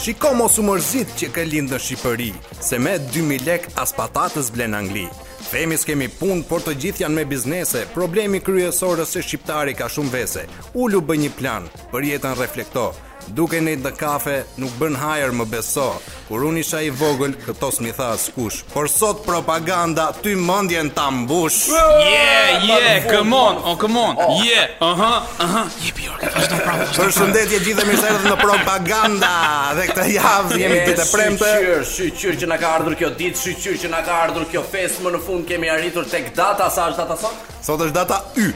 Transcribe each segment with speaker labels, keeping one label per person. Speaker 1: Shiko mos u mërzit që ke lindë në Shqipëri, se me 2000 lek as patatës blen Angli. Themi s'kemi punë, por të gjithë janë me biznese. Problemi kryesor është se shqiptari ka shumë vese. Ulu bë një plan, për jetën reflekto. Duke ne në kafe, nuk bën hajër më beso. Kur unë isha i vogël, këto s'mi tha askush. Por sot propaganda, ty mendjen ta mbush.
Speaker 2: Yeah, yeah, come on, oh come on. Yeah, uh-huh, aha, aha. Jepi Jorga, vazhdo prapë. vazhdo prapë.
Speaker 1: Përshëndetje gjithë dhe mirë se erdhët në propaganda. Dhe këtë javë jemi ditë e premte.
Speaker 3: Shqyr, shqyr që na ka ardhur kjo ditë, shqyr që na ka ardhur kjo festë, më në fund kemi arritur tek data sa është data sot?
Speaker 1: Sot është data Y.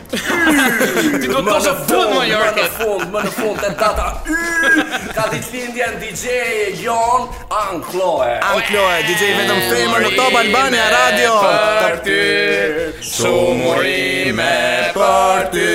Speaker 2: Ti do të
Speaker 3: në
Speaker 2: tosh fund më
Speaker 3: më në
Speaker 2: Jorga.
Speaker 3: fund, më në fund tek data y. Ka ditëlindjen DJ Jon Ankloe.
Speaker 1: Ankloe, DJ vetëm femër në Top Albania Radio.
Speaker 2: Për ty, shumë urime për ty.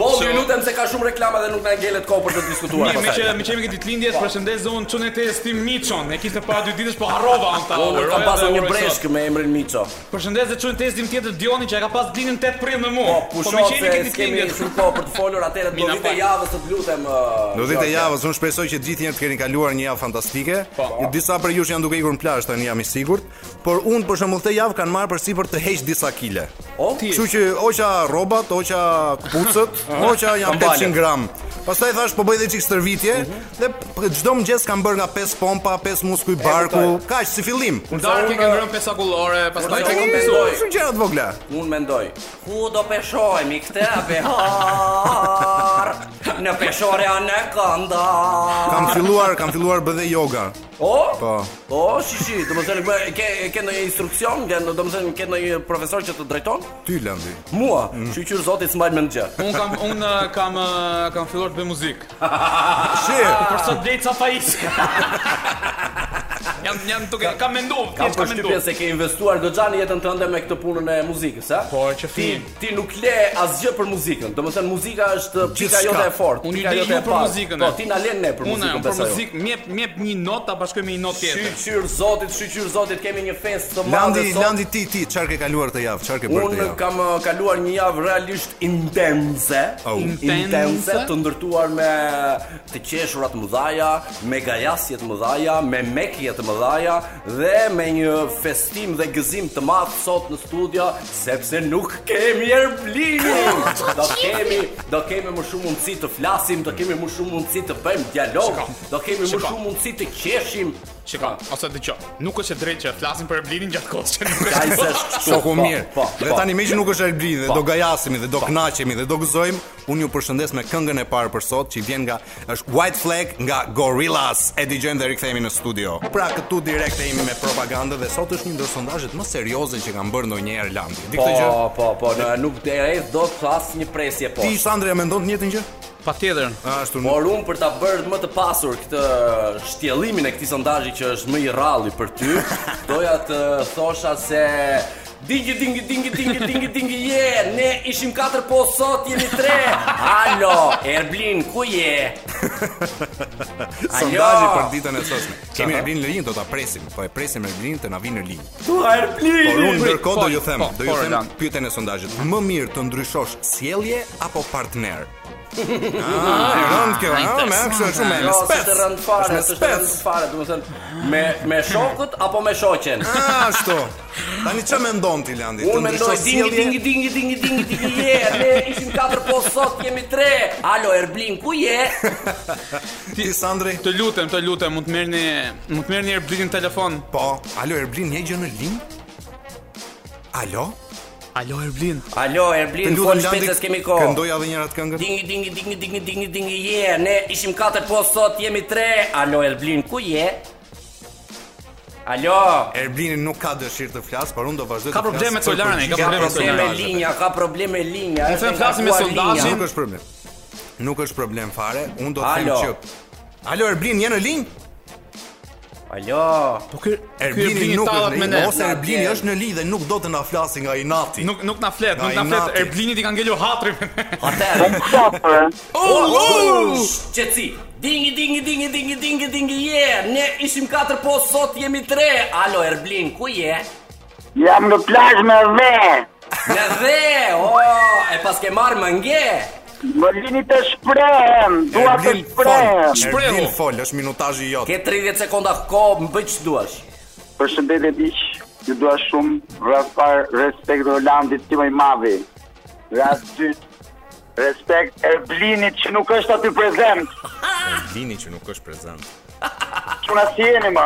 Speaker 3: Bob, ju lutem se ka shumë reklama dhe nuk na ngelet kohë për të diskutuar.
Speaker 2: Mirë, me që
Speaker 3: pastaj.
Speaker 2: me qemi këtë ditëlindjes, përshëndes zonë Çunet e Stim Miçon. E kishte pa dy ditësh, po harrova anta.
Speaker 3: Unë
Speaker 2: uroj
Speaker 3: kam
Speaker 2: dhe
Speaker 3: pasur një
Speaker 2: uroj sot.
Speaker 3: breshk me emrin Miço.
Speaker 2: Përshëndetje Çunet e Stim tjetër Dioni që e ka pas ditën 8 prill me mua.
Speaker 3: Po,
Speaker 2: Po
Speaker 3: pusho
Speaker 2: me
Speaker 3: se
Speaker 2: qemi këtë
Speaker 3: kemi
Speaker 2: ditëlindjes.
Speaker 3: shumë kohë për të folur atëherë do
Speaker 2: Mina
Speaker 3: ditë
Speaker 2: fal.
Speaker 3: javës të të lutem. uh,
Speaker 1: Në ditë e
Speaker 3: Jorga.
Speaker 1: javës, unë shpresoj që gjithë jeni të keni kaluar një javë fantastike.
Speaker 2: Po.
Speaker 1: Disa për jush janë duke ikur në plazh tani jam i sigurt, por unë për shembull këtë javë kanë marrë përsipër të heq disa kile.
Speaker 3: O,
Speaker 1: Kështu që oqa rrobat, oqa kputucët, oqa janë
Speaker 3: Kambalet.
Speaker 1: 800 gram. Pastaj thash po bëj dhe çik stërvitje dhe p- çdo mëngjes kam bërë nga 5 pompa, 5 muskuj barku, kaq si fillim.
Speaker 2: Darkë
Speaker 3: unë-
Speaker 2: kanë rënë pesakullore, pastaj
Speaker 3: Unë-
Speaker 2: ke
Speaker 3: unë-
Speaker 2: kompensoj.
Speaker 3: mendoj.
Speaker 1: Shumë gjëra të vogla.
Speaker 3: Unë mendoj, ku do peshojmë i këtë behar, në peshore a në këndar.
Speaker 1: Kam filluar, kam filluar bëj dhe yoga.
Speaker 3: O?
Speaker 1: Po.
Speaker 3: O, shishi, do më thënë, bë- ke, ke në instruksion, ke, do më thënë, ke në profesor që të drejton?
Speaker 1: Ty landi.
Speaker 3: Mua, mm. shqyqyr zotit s'mbajnë me në gjë.
Speaker 2: Un kam un uh, kam uh, kam filluar të bëj muzikë.
Speaker 1: Shi,
Speaker 2: Për sot blej ca faiz. jam jam duke kam menduar,
Speaker 3: Kam
Speaker 2: thjesht kam
Speaker 3: përshtypjen
Speaker 2: menduar.
Speaker 3: se ke investuar goxha në jetën tënde me këtë punën e muzikës, a?
Speaker 2: Po, që
Speaker 3: ti
Speaker 2: film.
Speaker 3: ti nuk le asgjë për muzikën. Domethënë muzika është pika
Speaker 1: Gjithçka.
Speaker 3: jote e fortë,
Speaker 2: Unë ju
Speaker 3: pika
Speaker 2: lej
Speaker 3: jote
Speaker 2: ju
Speaker 3: e
Speaker 2: për
Speaker 3: parë.
Speaker 2: muzikën,
Speaker 3: Po,
Speaker 2: e.
Speaker 3: ti na len ne për
Speaker 2: Unë
Speaker 3: muzikën,
Speaker 2: jam për
Speaker 3: besoj.
Speaker 2: muzikë, mjep mjep një notë ta bashkoj me një notë tjetër.
Speaker 3: Shqyr zotit, shqyr zotit, kemi një festë të madhe
Speaker 1: landi,
Speaker 3: sot.
Speaker 1: landi ti ti çfarë ke kaluar këtë javë, çfarë ke bërë këtë
Speaker 3: Unë
Speaker 1: javë?
Speaker 3: kam uh, kaluar një javë realisht intense
Speaker 2: Oh.
Speaker 1: Au.
Speaker 3: Intense Të ndërtuar me të qeshurat mëdhaja Me gajasjet mëdhaja Me mekjet mëdhaja Dhe me një festim dhe gëzim të madh Sot në studio Sepse nuk kemi erblinin Do kemi Do kemi më shumë mundësi të flasim Do kemi më shumë mundësi të bëjmë dialog
Speaker 2: Shiko,
Speaker 3: Do kemi më
Speaker 2: shiko.
Speaker 3: shumë mundësi të qeshim
Speaker 2: Shikoj, ose dëgjoj. Nuk është e drejtë që flasim për Erblinin gjatë kohës që nuk
Speaker 3: Kaj
Speaker 2: është.
Speaker 3: se është kështu.
Speaker 1: Shoku
Speaker 3: Po,
Speaker 1: mirë.
Speaker 3: po,
Speaker 1: Dhe
Speaker 3: po.
Speaker 1: tani me që nuk është Erbli dhe
Speaker 3: Po.
Speaker 1: do gajasemi dhe do kënaqemi dhe do gëzojmë, unë ju përshëndes me këngën e parë për sot që i vjen nga është White Flag nga Gorillaz. E dëgjojmë dhe rikthehemi në studio. Pra këtu direkte jemi me propagandë dhe sot është një ndër sondazhet më serioze që kanë bërë ndonjëherë Landi. Di këtë gjë?
Speaker 3: Po, po, po, në- nuk të rejtë do të asë një presje po
Speaker 1: Ti Sandra mendon të njëjtën gjë?
Speaker 2: Patjetër.
Speaker 1: Ashtu nuk.
Speaker 3: Por unë për ta bërë më të pasur këtë shtjellimin e këtij sondazhi që është më i rralli për ty, doja të thosha se Dingi, dingi, dingi, dingi, dingi, dingi, je, ne ishim 4, po sot jemi 3 Halo, Erblin, ku je?
Speaker 1: Sondazhi për ditën e sotme. Kemi Erblin në linjë, do ta presim. Po e presim Erblin të na vinë në linjë.
Speaker 3: Tu, Erblin!
Speaker 1: Por unë ndërkohë do
Speaker 2: po,
Speaker 1: ju them,
Speaker 2: po,
Speaker 1: do ju
Speaker 2: po,
Speaker 1: them
Speaker 2: Roland.
Speaker 1: pyetjen e sondazhit. Më mirë të ndryshosh sjellje apo partner? Ah, e rënd kjo, ah, më kështu shumë me
Speaker 3: Jo, se
Speaker 1: spec.
Speaker 3: të rënd fare,
Speaker 1: Është
Speaker 3: se
Speaker 1: me
Speaker 3: të rënd
Speaker 1: spec.
Speaker 3: fare, du më thënë, me, me shokët apo me shoqen?
Speaker 1: Ah, ashtu. Tani ç'a mendon ti Landi? Të
Speaker 3: Unë mendoj
Speaker 1: ndryshosh
Speaker 3: dingi dingi
Speaker 1: sjellje?
Speaker 3: dingi dingi dingi dingi je, ne ishim 4 po sot jemi 3. Alo Erblin, ku je?
Speaker 1: Ti Sandri?
Speaker 2: Të lutem, të lutem, mund të merrni, mund të merrni Erblinin telefon.
Speaker 1: Po, alo Erblin, një gjë në linjë? Alo?
Speaker 2: Alo Erblin.
Speaker 3: Alo Erblin, fol shpejt se s'kemi kohë.
Speaker 1: këndoja edhe njëra të këngën?
Speaker 3: Dingi dingi dingi dingi dingi dingi je, ne ishim 4 po sot jemi 3. Alo Erblin, ku je? Alo.
Speaker 1: Erblini nuk ka dëshirë të flasë, por unë do vazhdoj
Speaker 2: Ka
Speaker 1: të flasë.
Speaker 2: probleme
Speaker 1: për
Speaker 2: Colani, ka
Speaker 1: përgjigje
Speaker 2: probleme
Speaker 1: për
Speaker 2: Colani.
Speaker 3: Probleme
Speaker 1: sondazhet.
Speaker 3: linja, ka probleme linja.
Speaker 2: Ne
Speaker 3: është
Speaker 2: them flasim me
Speaker 3: nga kuar
Speaker 2: sondazhin.
Speaker 3: linja.
Speaker 1: Nuk është problem. Nuk është problem fare. Unë do të them
Speaker 3: Alo.
Speaker 1: që Alo Erblin, je në linjë?
Speaker 3: Alo.
Speaker 2: Po ky
Speaker 1: Erblini nuk është
Speaker 2: tallet
Speaker 1: në
Speaker 2: me
Speaker 1: linjë,
Speaker 2: ne.
Speaker 1: ose
Speaker 3: Na
Speaker 1: Erblini
Speaker 3: tjerë.
Speaker 1: është në linjë dhe nuk do të na flasë nga inati.
Speaker 2: Nuk nuk na flet, nuk
Speaker 1: Nga
Speaker 2: na flet.
Speaker 1: inati.
Speaker 2: Erblinit i ka ngelur hatri me ne.
Speaker 3: Atëherë.
Speaker 1: Oh,
Speaker 2: Oh!
Speaker 3: Qeci Dingi, dingi, dingi, dingi, dingi, dingi, je Ne ishim 4 po, sot jemi 3 Alo, Erblin, ku je?
Speaker 4: Jam në plazh me dhe.
Speaker 3: oh, Në dhe, o, e pas ke marrë më nge
Speaker 4: Më lini të shprehem, dua të
Speaker 1: Erbil fol,
Speaker 4: shprehem.
Speaker 2: Shprehu.
Speaker 1: Erbil fol, është minutazhi jot.
Speaker 3: Ke 30 sekonda kohë, më bëj që duash.
Speaker 4: Përshëndetje miq, ju dua shumë, rreth parë respekt Rolandit tim i madhi. Rreth dytë respekt Erblinit që nuk është aty prezent.
Speaker 1: Lini që nuk është prezant.
Speaker 4: Çuna si jeni më?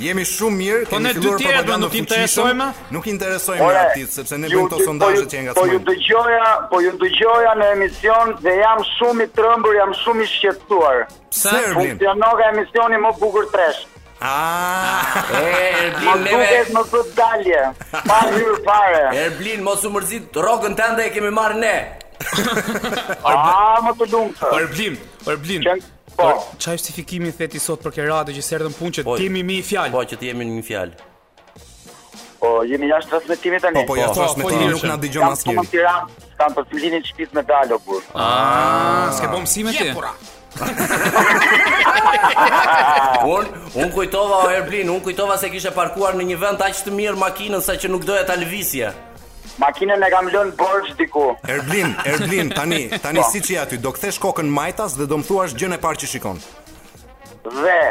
Speaker 1: Jemi shumë mirë,
Speaker 2: Po
Speaker 1: kemi
Speaker 2: ne dy
Speaker 1: filluar
Speaker 2: tjerët,
Speaker 1: propagandën
Speaker 2: nuk interesojmë?
Speaker 1: Nuk interesojmë
Speaker 4: Ore,
Speaker 1: artist sepse ne bëjmë
Speaker 4: ju-
Speaker 1: këto
Speaker 4: po ju-
Speaker 1: sondazhe që janë
Speaker 4: Po ju
Speaker 1: ngacmuar.
Speaker 4: dëgjoja, po ju dëgjoja në emision dhe jam shumë i trembur, jam shumë i shqetësuar.
Speaker 1: Pse Erblin?
Speaker 4: Funksionoka emisioni më bukur tresh.
Speaker 1: Ah,
Speaker 3: E,
Speaker 4: Më
Speaker 3: Erblin, neve...
Speaker 4: duket më të dalje. Pa hyr fare.
Speaker 3: Erblin, mos u mërzit, rogën tënde e kemi marrë ne.
Speaker 4: A, më të lumtë.
Speaker 2: Erblim, Erblim.
Speaker 4: Që- Po.
Speaker 2: Çfarë justifikimi the ti sot për këtë radio që serdhën punë që
Speaker 3: Po.
Speaker 2: timi mi i
Speaker 3: Po
Speaker 2: fjalë?
Speaker 3: që ti jemi në një fjalë.
Speaker 4: Po, jemi jashtë transmetimit tani.
Speaker 1: po po ja
Speaker 3: Po,
Speaker 1: thash me
Speaker 2: po,
Speaker 1: ti
Speaker 2: po,
Speaker 1: nuk na dëgjon
Speaker 4: Jam këtu në
Speaker 1: asnjëri.
Speaker 4: Tiranë, kam për të linin shtëpis me dalë o burr.
Speaker 2: Ah, s'ke bëm mësime ti?
Speaker 3: Un, un kujtova o Erblin, un kujtova se kishe parkuar në një vend aq të mirë makinën sa që nuk doja ta lëvisje.
Speaker 4: Makinën e kam lënë borxh diku.
Speaker 1: Erblin, Erblin, tani, tani siç je aty, do kthesh kokën majtas dhe do më thuash gjën e parë që shikon.
Speaker 4: Dhe,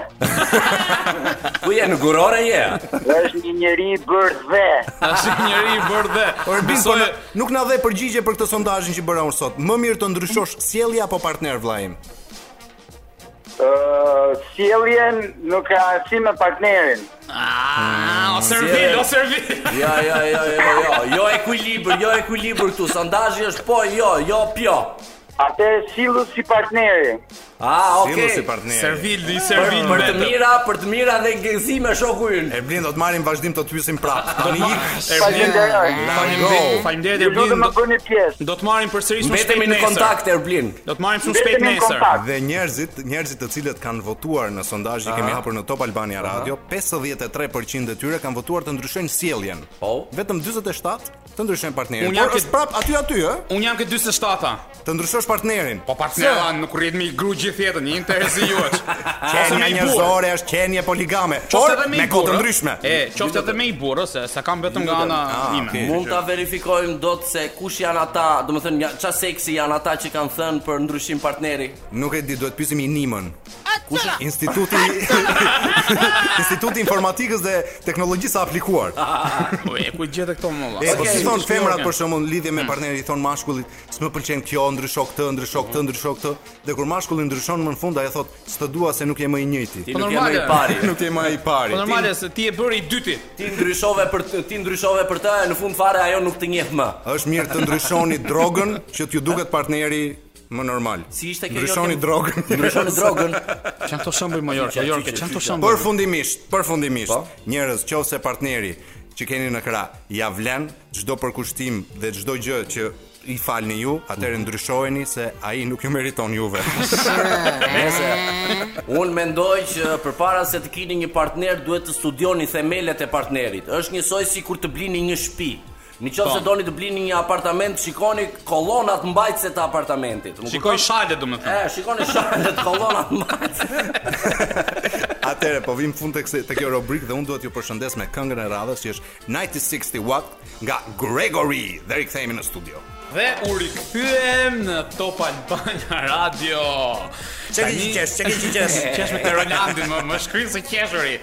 Speaker 3: Ku je në gurore je?
Speaker 4: dhe është një njeri i bërë dhe.
Speaker 2: Tash njëri i bërë dhe.
Speaker 1: Erblin, po
Speaker 2: Besoj-
Speaker 1: na- nuk na dhe përgjigje për këtë sondazhin që bëra unë sot. Më mirë të ndryshosh sjellje apo partner vllajim?
Speaker 4: Ë, sjelljen në krahasim me partnerin.
Speaker 2: Ah, o servil, o servil.
Speaker 3: Jo, jo, jo, jo, jo, jo ekuilibër, jo ekuilibër këtu. Sondazhi është po, jo, jo, pjo.
Speaker 4: Atëherë sillu si partneri.
Speaker 3: Ah,
Speaker 1: Sillu
Speaker 3: okay.
Speaker 1: si partneri.
Speaker 2: Servil, i
Speaker 3: Për,
Speaker 2: servil
Speaker 3: për të
Speaker 2: vetëm.
Speaker 3: mira, për të mira dhe gëzime shoku ynë.
Speaker 1: Erblin do të marrim vazhdim të të pyesim prapë. Tani ik.
Speaker 2: Erblin,
Speaker 4: Faleminderoj.
Speaker 2: faleminderit, faleminderit
Speaker 4: Ju lutem
Speaker 2: Erblin.
Speaker 4: më
Speaker 2: do-
Speaker 4: bëni pjesë.
Speaker 2: Do të marrim përsëri shumë shpejt
Speaker 3: Mbetemi në
Speaker 2: nesër.
Speaker 3: kontakt Erblin.
Speaker 2: Do të marrim shumë shpejt
Speaker 4: Mbetemi në
Speaker 2: nesër.
Speaker 4: kontakt.
Speaker 1: Dhe njerëzit, njerëzit të cilët kanë votuar në sondazhin që kemi hapur në Top Albania Radio, 53% e tyre kanë votuar të ndryshojnë sjelljen.
Speaker 3: Po.
Speaker 1: Vetëm 47 të ndryshojnë partnerin.
Speaker 2: Unë jam
Speaker 1: Por
Speaker 2: ke-
Speaker 1: është prap aty aty, ë?
Speaker 2: Unë jam këtë 47-a.
Speaker 1: Të ndryshosh partnerin.
Speaker 2: Po partnera nuk rrit me i gru gjithë jetën, një interesi juaj.
Speaker 1: Qenia njerëzore është qenie poligame.
Speaker 2: Qoftë
Speaker 1: Por
Speaker 2: edhe me i
Speaker 1: me
Speaker 2: burë.
Speaker 1: kohë të ndryshme.
Speaker 2: E, qoftë edhe me i burë, se sa kam vetëm nga ana
Speaker 1: Ah,
Speaker 2: ime.
Speaker 1: okay.
Speaker 3: Mund ta verifikojmë dot se kush janë ata, domethënë nga ç'a seksi janë ata që kanë thënë për ndryshim partneri.
Speaker 1: Nuk e di, duhet pyesim i Nimën. Kush Instituti Instituti Informatikës dhe Teknologjisë së Aplikuar.
Speaker 2: Po e ku gjete këto më valla?
Speaker 1: E, po
Speaker 3: Okej,
Speaker 1: si thon
Speaker 2: s'ka
Speaker 1: femrat
Speaker 2: organ.
Speaker 1: për shembull lidhje me partnerin i thon mashkullit, s'më pëlqen kjo, ndrysho këtë, ndrysho këtë, ndrysho këtë, dhe kur mashkulli ndryshon më në fund ai thot, s'të dua se nuk je më i njëjti.
Speaker 3: Ti
Speaker 2: Po
Speaker 3: nuk je më i
Speaker 2: normale.
Speaker 3: pari.
Speaker 1: Nuk je më i pari.
Speaker 2: Po normale se ti e bëri i dyti.
Speaker 3: Ti ndryshove për të, ti ndryshove për të, e në fund fare ajo nuk të njeh më.
Speaker 1: Ti- Është mirë të ndryshoni drogën që t'ju duket partneri më normal.
Speaker 3: Si jo ishte kjo,
Speaker 1: Ndryshoni
Speaker 3: Jorgen?
Speaker 1: drogën.
Speaker 3: Ndryshon drogën.
Speaker 2: Çan to shembuj më Jorka,
Speaker 3: Qyqe,
Speaker 2: Jorka,
Speaker 3: qyqe,
Speaker 2: çan to
Speaker 3: qyqe.
Speaker 2: shembuj.
Speaker 1: Përfundimisht, përfundimisht, njerëz, qofse partneri që keni në krah ja vlen çdo përkushtim dhe çdo gjë që i falni ju, atëherë ndryshoheni se ai nuk ju meriton juve.
Speaker 3: Nëse unë mendoj që përpara se të keni një partner duhet të studioni themelet e partnerit. Është njësoj si kur të blini një shtëpi. Në
Speaker 2: Po.
Speaker 3: qoftë se doni të blini një apartament, shikoni kolonat mbajtëse të apartamentit. Më
Speaker 2: Shikoj
Speaker 3: kupton?
Speaker 2: shale domethënë.
Speaker 3: E, shikoni shalet, kolonat mbajtëse.
Speaker 1: Atëre po vim fund tek se- tek kjo rubrikë dhe unë duhet ju përshëndes me këngën e radhës që është 9060 Watt nga Gregory. Dhe rikthehemi në studio.
Speaker 2: Dhe u rikthyem në Top Albania Radio.
Speaker 1: Çeki
Speaker 2: Tani-
Speaker 1: qesh, çeki qesh.
Speaker 2: Qesh me Rolandin, më më shkrin se qeshuri.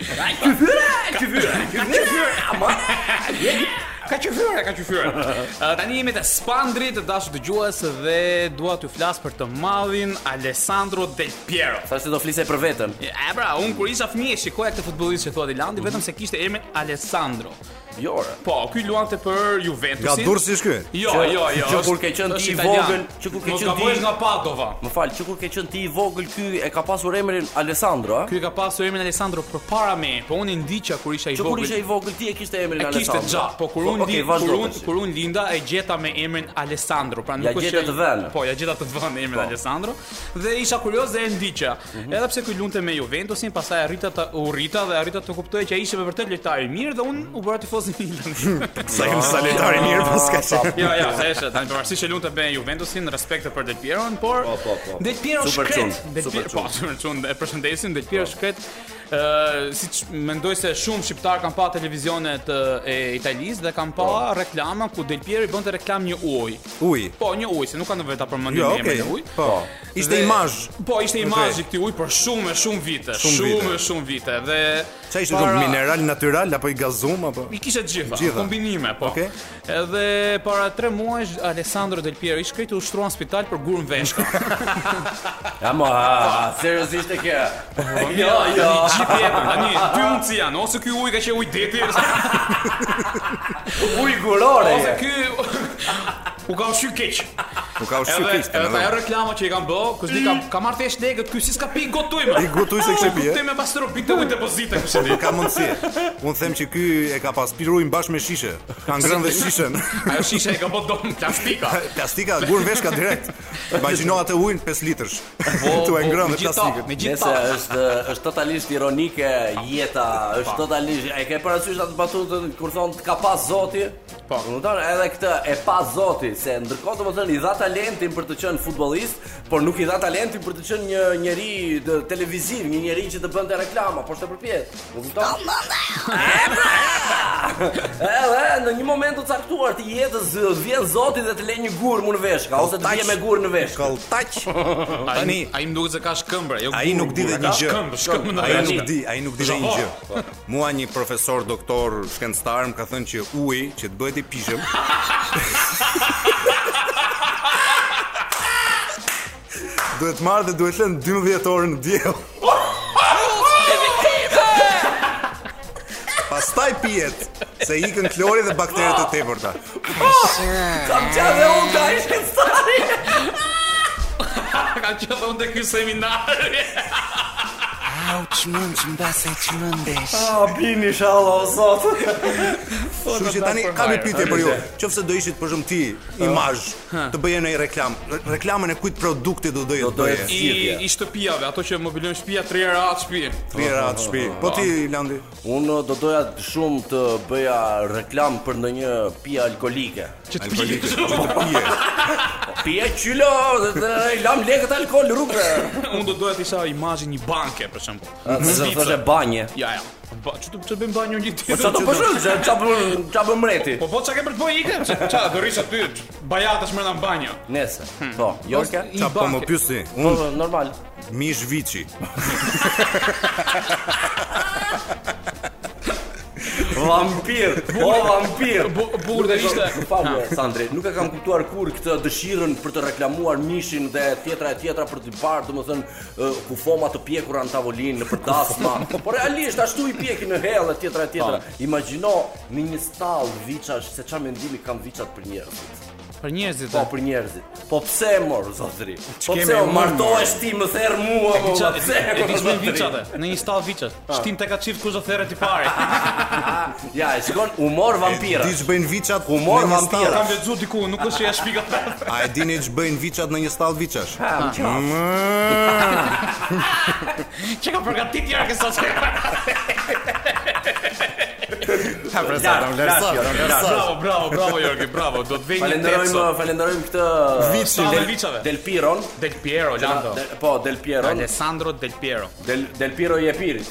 Speaker 2: Ka qyfyre, ka qyfyre. Ë, Tani jemi te Spandri të dashur dëgjues dhe dua t'ju flas për të madhin Alessandro Del Piero.
Speaker 3: Thashë do flise për veten.
Speaker 2: E pra, unë kur isha fëmijë shikoja këtë futbollist që thua Dilandi, vetëm se kishte emrin Alessandro.
Speaker 3: Jo. ore.
Speaker 2: Po, ky luante për Juventusin.
Speaker 1: Nga Durrësi është ky?
Speaker 2: Jo,
Speaker 3: Që-
Speaker 2: jo, jo.
Speaker 3: që kur
Speaker 2: është-
Speaker 3: ke qenë ti
Speaker 2: është
Speaker 3: i
Speaker 2: italian.
Speaker 3: vogël, që kur ke
Speaker 2: Mos
Speaker 3: qenë ti-
Speaker 2: gabohesh nga Padova.
Speaker 3: Më fal, që kur ke qenë ti i vogël ky e ka pasur emrin Alessandro, a?
Speaker 2: Ky ka pasur emrin Alessandro përpara me, po unë i ndiqja kur isha i
Speaker 3: Që kur ishe
Speaker 2: vogël.
Speaker 3: i vogël ti e kishte emrin
Speaker 2: E
Speaker 3: Alessandro.
Speaker 2: kishte xha, po kur unë
Speaker 3: Okej,
Speaker 2: okay, kur
Speaker 3: vazhdo
Speaker 2: unë
Speaker 3: tash.
Speaker 2: kur unë linda e gjeta me emrin Alessandro, pra nuk
Speaker 3: Ja
Speaker 2: është
Speaker 3: gjeta
Speaker 2: që-
Speaker 3: të vënë.
Speaker 2: Po, ja gjeta të vënë emrin Alessandro dhe isha kurioz dhe e ndiqja.
Speaker 3: Mhm.
Speaker 2: Edhe pse ky lunte me Juventusin, pastaj arrita ta u rrita dhe arrita të kuptoj që ai ishte me vërtet lojtar i mirë dhe unë u bëra tifoz i Milanit.
Speaker 1: Sa kemi saletari mirë pas ka qenë.
Speaker 2: Jo, jo, se është, tani përvarësisht që lunte me Juventusin, respekte për Del Piero'n, por
Speaker 3: Po, po, po.
Speaker 2: Del Piero
Speaker 3: Super
Speaker 2: shkret.
Speaker 3: çun,
Speaker 2: Del
Speaker 3: super
Speaker 2: Piero, po, super çun, e përshëndesim Del Piero shkret ë siç mendoj se shumë shqiptar kanë pa televizionet ë, e Italisë dhe kanë pa reklama ku Del Piero i bënte reklam një ujë.
Speaker 1: Uj.
Speaker 2: Po, një ujë, se nuk kanë vetë ta përmendim
Speaker 1: Jo,
Speaker 2: jo,
Speaker 1: okay.
Speaker 2: emrin e ujit.
Speaker 1: Po. Ishte
Speaker 2: Dhe-
Speaker 1: imazh.
Speaker 2: Po, ishte imazhi
Speaker 1: Okej.
Speaker 2: këtij uji për shumë e shumë vite,
Speaker 1: Shumë
Speaker 2: shumë
Speaker 1: vite.
Speaker 2: e shumë vite dhe
Speaker 1: Çfarë ishte
Speaker 2: para-
Speaker 1: para... mineral natyral apo i gazum apo?
Speaker 2: I kishe të gjitha,
Speaker 1: Gjitha.
Speaker 2: kombinime, po.
Speaker 1: Okej.
Speaker 2: Edhe para 3 muajsh Alessandro Del Piero i shkreti u shtrua në spital për gurën veshka.
Speaker 3: Ja mo, ha, seriosisht e ke. Jo, jo.
Speaker 2: Tani gjithë jepën, tani dy mundësi janë, ose ky ujë ka qenë ujë deti,
Speaker 3: Uj gurore.
Speaker 2: ose
Speaker 3: je.
Speaker 2: ky u ka ushqyer keq.
Speaker 1: Nuk ka ushqyer
Speaker 2: Edhe
Speaker 1: keq
Speaker 2: edhe ajo
Speaker 1: tani. Mm.
Speaker 2: reklama që i kanë bë, kush di ka ka marrë tesh legët, ky si s'ka pi gotujme.
Speaker 1: I gotoj se kishte pi, eh? e?
Speaker 2: Gotujme pas tërë pikë ujë depozite kush e di.
Speaker 1: Nuk ka mundësi. Unë them që ky e ka pas piruin bashkë me shishe. Ka ngrënë dhe shishen.
Speaker 2: Ajo shisha e ka bë dom plastika.
Speaker 1: Plastika gurën vesh ka direkt. Imagjino atë ujin 5 litrësh. Tu e ngrënë Po, me plastikën.
Speaker 2: Po, Me gjithë
Speaker 3: Nëse
Speaker 2: ta.
Speaker 3: është është totalisht ironike jeta, është totalisht e ke parasysh atë batutën kur thon të ka pas Zoti?
Speaker 2: Po.
Speaker 3: Më thonë edhe këtë e pa Zoti, se ndërkohë domethënë i dha talentin për të qenë futbollist, por nuk i dha talentin për të qenë një njeri të televiziv, një njeri që të bënte reklama, por të përpjet. U kupton? Edhe në një moment të caktuar të jetës vjen Zoti dhe të lë një gur mu në veshka ose të vjen me gur në veshka.
Speaker 1: Kolltaç.
Speaker 2: Tani
Speaker 1: Tani
Speaker 2: ai më duket se ka shkëmbë, jo.
Speaker 1: Ai nuk di dhe një gjë.
Speaker 2: Shkëmbë, shkëmbë ndaj.
Speaker 1: Ai nuk di, ai nuk di dhe një
Speaker 2: Po.
Speaker 1: gjë. Mua një profesor doktor shkencëtar më ka thënë që uji që të bëhet i pishëm duhet marrë dhe duhet lënë 12 orë në diell. Pastaj pijet, se ikën klori dhe bakteret e tepërta.
Speaker 3: Kam qenë dhe unë ka ishte stari.
Speaker 2: Ka qenë unë te ky seminar.
Speaker 3: Ah, bini inshallah o zot.
Speaker 1: Kështu që tani kam një pyetje për ju. Qofse do ishit për shemb ti imazh, të bëje një reklam, re- reklamën e kujt produkti do doje të
Speaker 3: Do doje
Speaker 1: bëje?
Speaker 2: I,
Speaker 3: Sirje.
Speaker 2: i shtëpijave, ato që mobilojnë shtëpia 3 herë atë shtëpi.
Speaker 1: Trira atë shtëpi. Po ti Landi,
Speaker 3: Unë do doja shumë të bëja reklam për ndonjë pije alkolike.
Speaker 2: Që të
Speaker 1: alkoholikët që
Speaker 2: pijë.
Speaker 1: të pije.
Speaker 3: Pije qylo, dhe të lam lekët alkol rrugë.
Speaker 2: Unë do doja të isha imazhi një banke për shembull.
Speaker 3: Nëse
Speaker 2: Zvicër.
Speaker 3: thoshe banje.
Speaker 2: Ja, ja. Ba, që të që bëjmë banjë një ditë.
Speaker 3: Po çfarë do bëshën? Çfarë bën? Çfarë bën mreti?
Speaker 2: Po po çka ke për të bëj ikë? Çfarë do rish aty? Bajatash mërë në banjë.
Speaker 3: Nese. Po, jo ke?
Speaker 2: I
Speaker 1: Qa po më
Speaker 2: banke.
Speaker 1: pyesi,
Speaker 3: Po,
Speaker 1: unë
Speaker 3: normal.
Speaker 1: mish viçi.
Speaker 3: Vampir, po vampir.
Speaker 2: Bu- burr dhe ishte.
Speaker 3: Pa, mua, Sandri, nuk e kam kuptuar kur këtë dëshirën për të reklamuar mishin dhe tjetra e tjetra për të parë, domethënë, ë, ku foma të pjekura në tavolinë, për dasma. Po realisht ashtu i pjekin në hellë e tjetra e tjetra.
Speaker 2: Po.
Speaker 3: Imagjino në një stall viçash se çfarë mendimi kanë viçat për njerëzit.
Speaker 2: Për njerëzit.
Speaker 3: Po për njerëzit. Po pse mor zotëri? Po
Speaker 2: Ç'kemi
Speaker 3: pse o
Speaker 2: mor,
Speaker 3: martohesh ti më therr mua, po
Speaker 2: Qa,
Speaker 3: pse?
Speaker 2: e di shumë
Speaker 3: zotëri?
Speaker 2: viçate, në një stall viçat. Shtim tek atë çift kush do therret i parë.
Speaker 3: Ja, e shikon humor vampira.
Speaker 1: Di ç'bëjnë viçat
Speaker 3: Humor
Speaker 1: në një
Speaker 3: vampira.
Speaker 1: stall?
Speaker 2: Kam lexuar diku, nuk është që ja shpika.
Speaker 1: A e dini ç'bëjnë viçat në një stall viçash? Mm.
Speaker 2: Çe ka përgatit jera kësaj
Speaker 1: Ha presa,
Speaker 3: Lart, lart, lart.
Speaker 2: Bravo, bravo, bravo Jorgi, bravo. Do të vej një
Speaker 3: Falenderojmë,
Speaker 2: terco.
Speaker 3: falenderojmë këtë
Speaker 2: Vicin.
Speaker 3: Del-
Speaker 2: Vicave.
Speaker 3: Del Piron.
Speaker 2: Del Piero, Lando.
Speaker 3: Del- Po, Del Pieron.
Speaker 2: Alessandro Del Piero.
Speaker 3: Del, Del Piro i Epirit.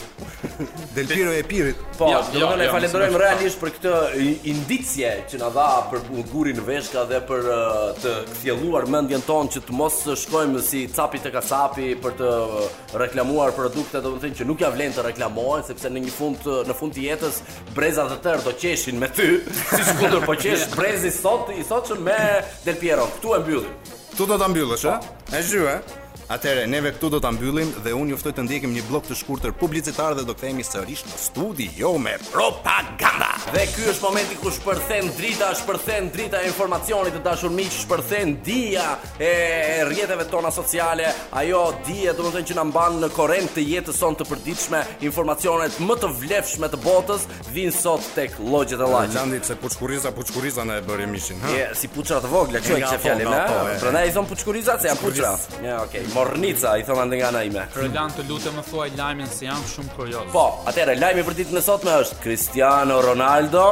Speaker 1: Del Piro e Pirit.
Speaker 3: Po,
Speaker 2: Jo,
Speaker 3: do
Speaker 2: jo,
Speaker 3: të ne
Speaker 2: jo,
Speaker 3: falenderojmë
Speaker 2: mos-
Speaker 3: realisht për këtë i- indicje që na dha për gurin veshka dhe për uh, të kthjelluar mendjen tonë që të mos shkojmë si capi te kasapi për të uh, reklamuar produkte, domethënë që nuk ja vlen të reklamohen sepse në një fund të- në fund të jetës brezat e tërë do qeshin me ty, siç kundër po qesh brezi sot i sotshëm me Del Pieron. Ktu e mbyllim.
Speaker 1: Tu do ta mbyllësh, a? E zhyë, a? Atëre, neve këtu do ta mbyllim dhe unë ju ftoj të ndjekim një blok të shkurtër publicitar dhe do kthehemi sërish në studi, jo me propaganda.
Speaker 3: Dhe ky është momenti ku shpërthen drita, shpërthen drita e informacionit të dashur miq, shpërthen dia e e rrjeteve tona sociale, ajo dije domethënë që na mban në korrent të jetës sonë të përditshme, informacionet më të vlefshme të botës vijnë sot tek llogjet e llaçit.
Speaker 1: Landi pse puçkuriza, puçkuriza na e bëri mishin, ha?
Speaker 3: Je si puçra të vogla, kjo e
Speaker 1: Nga
Speaker 3: kishe
Speaker 1: po,
Speaker 3: fjalën,
Speaker 1: nga po,
Speaker 3: ha?
Speaker 1: e.
Speaker 3: eh? Prandaj i thon puçkuriza se janë puçra. Ja, okay. Mornica i thon ande nga ana ime.
Speaker 2: Roland, të lutem më thuaj lajmin se jam shumë kurioz.
Speaker 3: Po, atëherë lajmi për ditën e sotme është Cristiano Ronaldo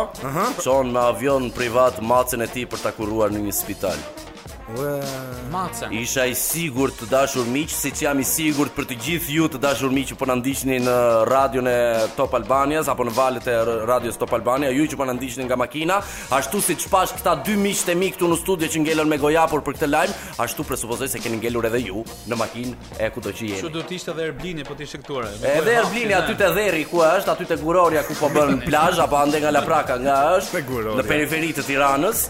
Speaker 3: çon me avion privat macën e tij për ta kuruar në një spital.
Speaker 2: Macen.
Speaker 3: Isha i sigurt të dashur miq, siç jam i sigurt për të gjithë ju të dashur miq që po na ndiqni në radion e Top Albanias apo në valët e r- radios Top Albania, ju që po na ndiqni nga makina, ashtu siç pash këta dy miq të mi këtu në studio që ngelën me gojapur për këtë lajm, ashtu presupozoj se keni ngelur edhe ju në makinë e kudo që
Speaker 2: Kështu
Speaker 3: jeni.
Speaker 2: do të ishte edhe Erblini po të ishte këtu.
Speaker 3: Edhe Erblini aty te dherri ku është, aty te Guroria ku po bën plazh apo ande nga Lapraka nga është
Speaker 1: Te Guroria.
Speaker 3: në periferi të Tiranës.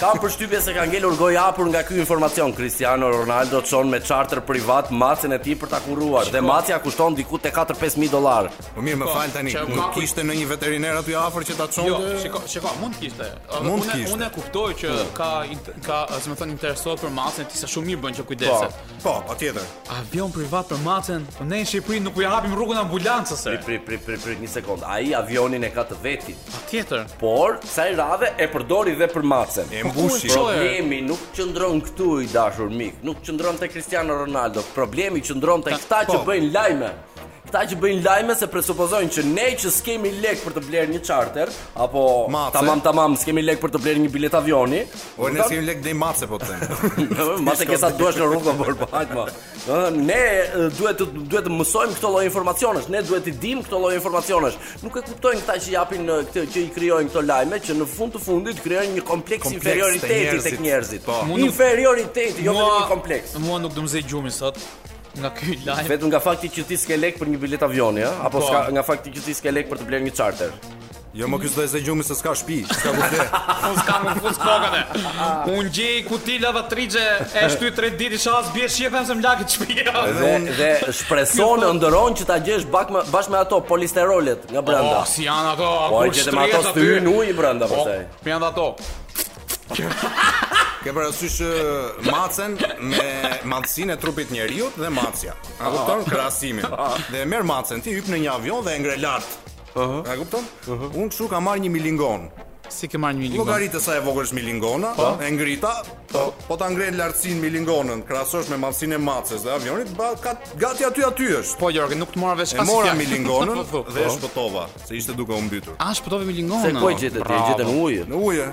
Speaker 3: Kam përshtypjen se ka ngelur gojë hapur nga ky informacion Cristiano Ronaldo çon me charter privat macën e tij për ta kurruar dhe macja kushton diku te 4-5000 dollar.
Speaker 1: Po mirë, më
Speaker 2: Po,
Speaker 1: fal tani.
Speaker 2: që
Speaker 1: Nuk
Speaker 2: kapi-
Speaker 1: kishte ndonjë veteriner aty afër që ta
Speaker 2: Jo,
Speaker 1: çonte?
Speaker 2: shiko, shiko, mund të kishte. ajo.
Speaker 1: Mund të
Speaker 2: Unë-
Speaker 1: kishte.
Speaker 2: Unë e kuptoj që
Speaker 3: Po.
Speaker 2: ka int- ka, si më thon, interesohet për macen, ti sa shumë mirë bën që kujdeset.
Speaker 1: Po, patjetër.
Speaker 2: Avion privat për macen, po ne në Shqipëri nuk u ja japim rrugën ambulancës. e.
Speaker 3: Pri pri pri pri, pri një sekond. Ai avionin e ka të vetit,
Speaker 2: Patjetër.
Speaker 3: por sa i radhe e përdori dhe për macën.
Speaker 1: Po E
Speaker 2: ku
Speaker 1: mbushi.
Speaker 2: e çon?
Speaker 3: Problemi nuk qëndron këtu i dashur mik, nuk qëndron te Cristiano Ronaldo. Problemi qëndron te këta që
Speaker 1: po.
Speaker 3: bëjnë lajme. Këta që bëjnë lajme se presupozojnë që ne që s'kemi lek për të blerë një charter apo
Speaker 1: Mace.
Speaker 3: tamam tamam s'kemi lek për të blerë një bilet avioni.
Speaker 1: O ne s'kemi lek dej mace po të them.
Speaker 3: Ma se kesa të duash në rrugë por po hajt ma. Domethënë, Ne e, duhet të duhet të mësojmë këto lloj informacionesh, ne duhet të dimë këto lloj informacionesh. Nuk e kuptojnë këta që japin e, këtë që i krijojnë këto lajme që në fund të fundit krijojnë një kompleks,
Speaker 1: Kompleks të
Speaker 3: inferioriteti
Speaker 1: njerëzit.
Speaker 3: tek njerëzit.
Speaker 1: Po.
Speaker 2: Mu nuk-
Speaker 3: Inferioriteti, jo vetëm një kompleks.
Speaker 2: Mua nuk do më zej gjumi sot nga ky lajm.
Speaker 3: Vetëm nga fakti që ti s'ke lek për një bilet avioni, ë, apo
Speaker 2: Po.
Speaker 3: s'ka nga fakti që ti s'ke lek për të blerë një charter.
Speaker 1: Jo më ky s'do e zë gjumi se s'ka shtëpi, s'ka bute.
Speaker 2: Unë s'kam më fut kokën. Unë gjej kuti lavatriçe e shty 3 ditë shas bie shjepen se më lakit shtëpia.
Speaker 3: Dhe dhe shpreson ëndëron që ta gjesh bak me- bashkë me ato polisterolet nga brenda.
Speaker 2: Oh, si janë ato,
Speaker 3: Po e
Speaker 2: kur
Speaker 3: gjetë me ato
Speaker 2: shtrihet aty.
Speaker 3: styr në ujë brenda
Speaker 2: Po,
Speaker 3: pastaj.
Speaker 2: po janë ato.
Speaker 1: Ke parasysh ë, macen me madhsinë e trupit njeriu dhe macja. A kupton krahasimin? Dhe e merr macen, ti hyp në një avion dhe e ngre lart. A kupton? Unë kështu kam marrë një milingon.
Speaker 2: Si ke marrë një lingon?
Speaker 1: Llogaritë sa e vogël është milingona, e ngrita, po, po ta ngren lartësinë milingonën, krahasosh me madhsinë e macës dhe avionit, ba, ka gati aty aty është.
Speaker 2: Po Jorgen, nuk të mora vesh
Speaker 1: E
Speaker 2: as
Speaker 1: mora
Speaker 2: fjalë.
Speaker 1: milingonën
Speaker 2: Po, po.
Speaker 1: dhe e shpëtova, se ishte duke u mbytur.
Speaker 2: A shpëtove me po lingonën?
Speaker 3: Se ku e gjetë ti? E gjetë në ujë.
Speaker 1: Në ujë.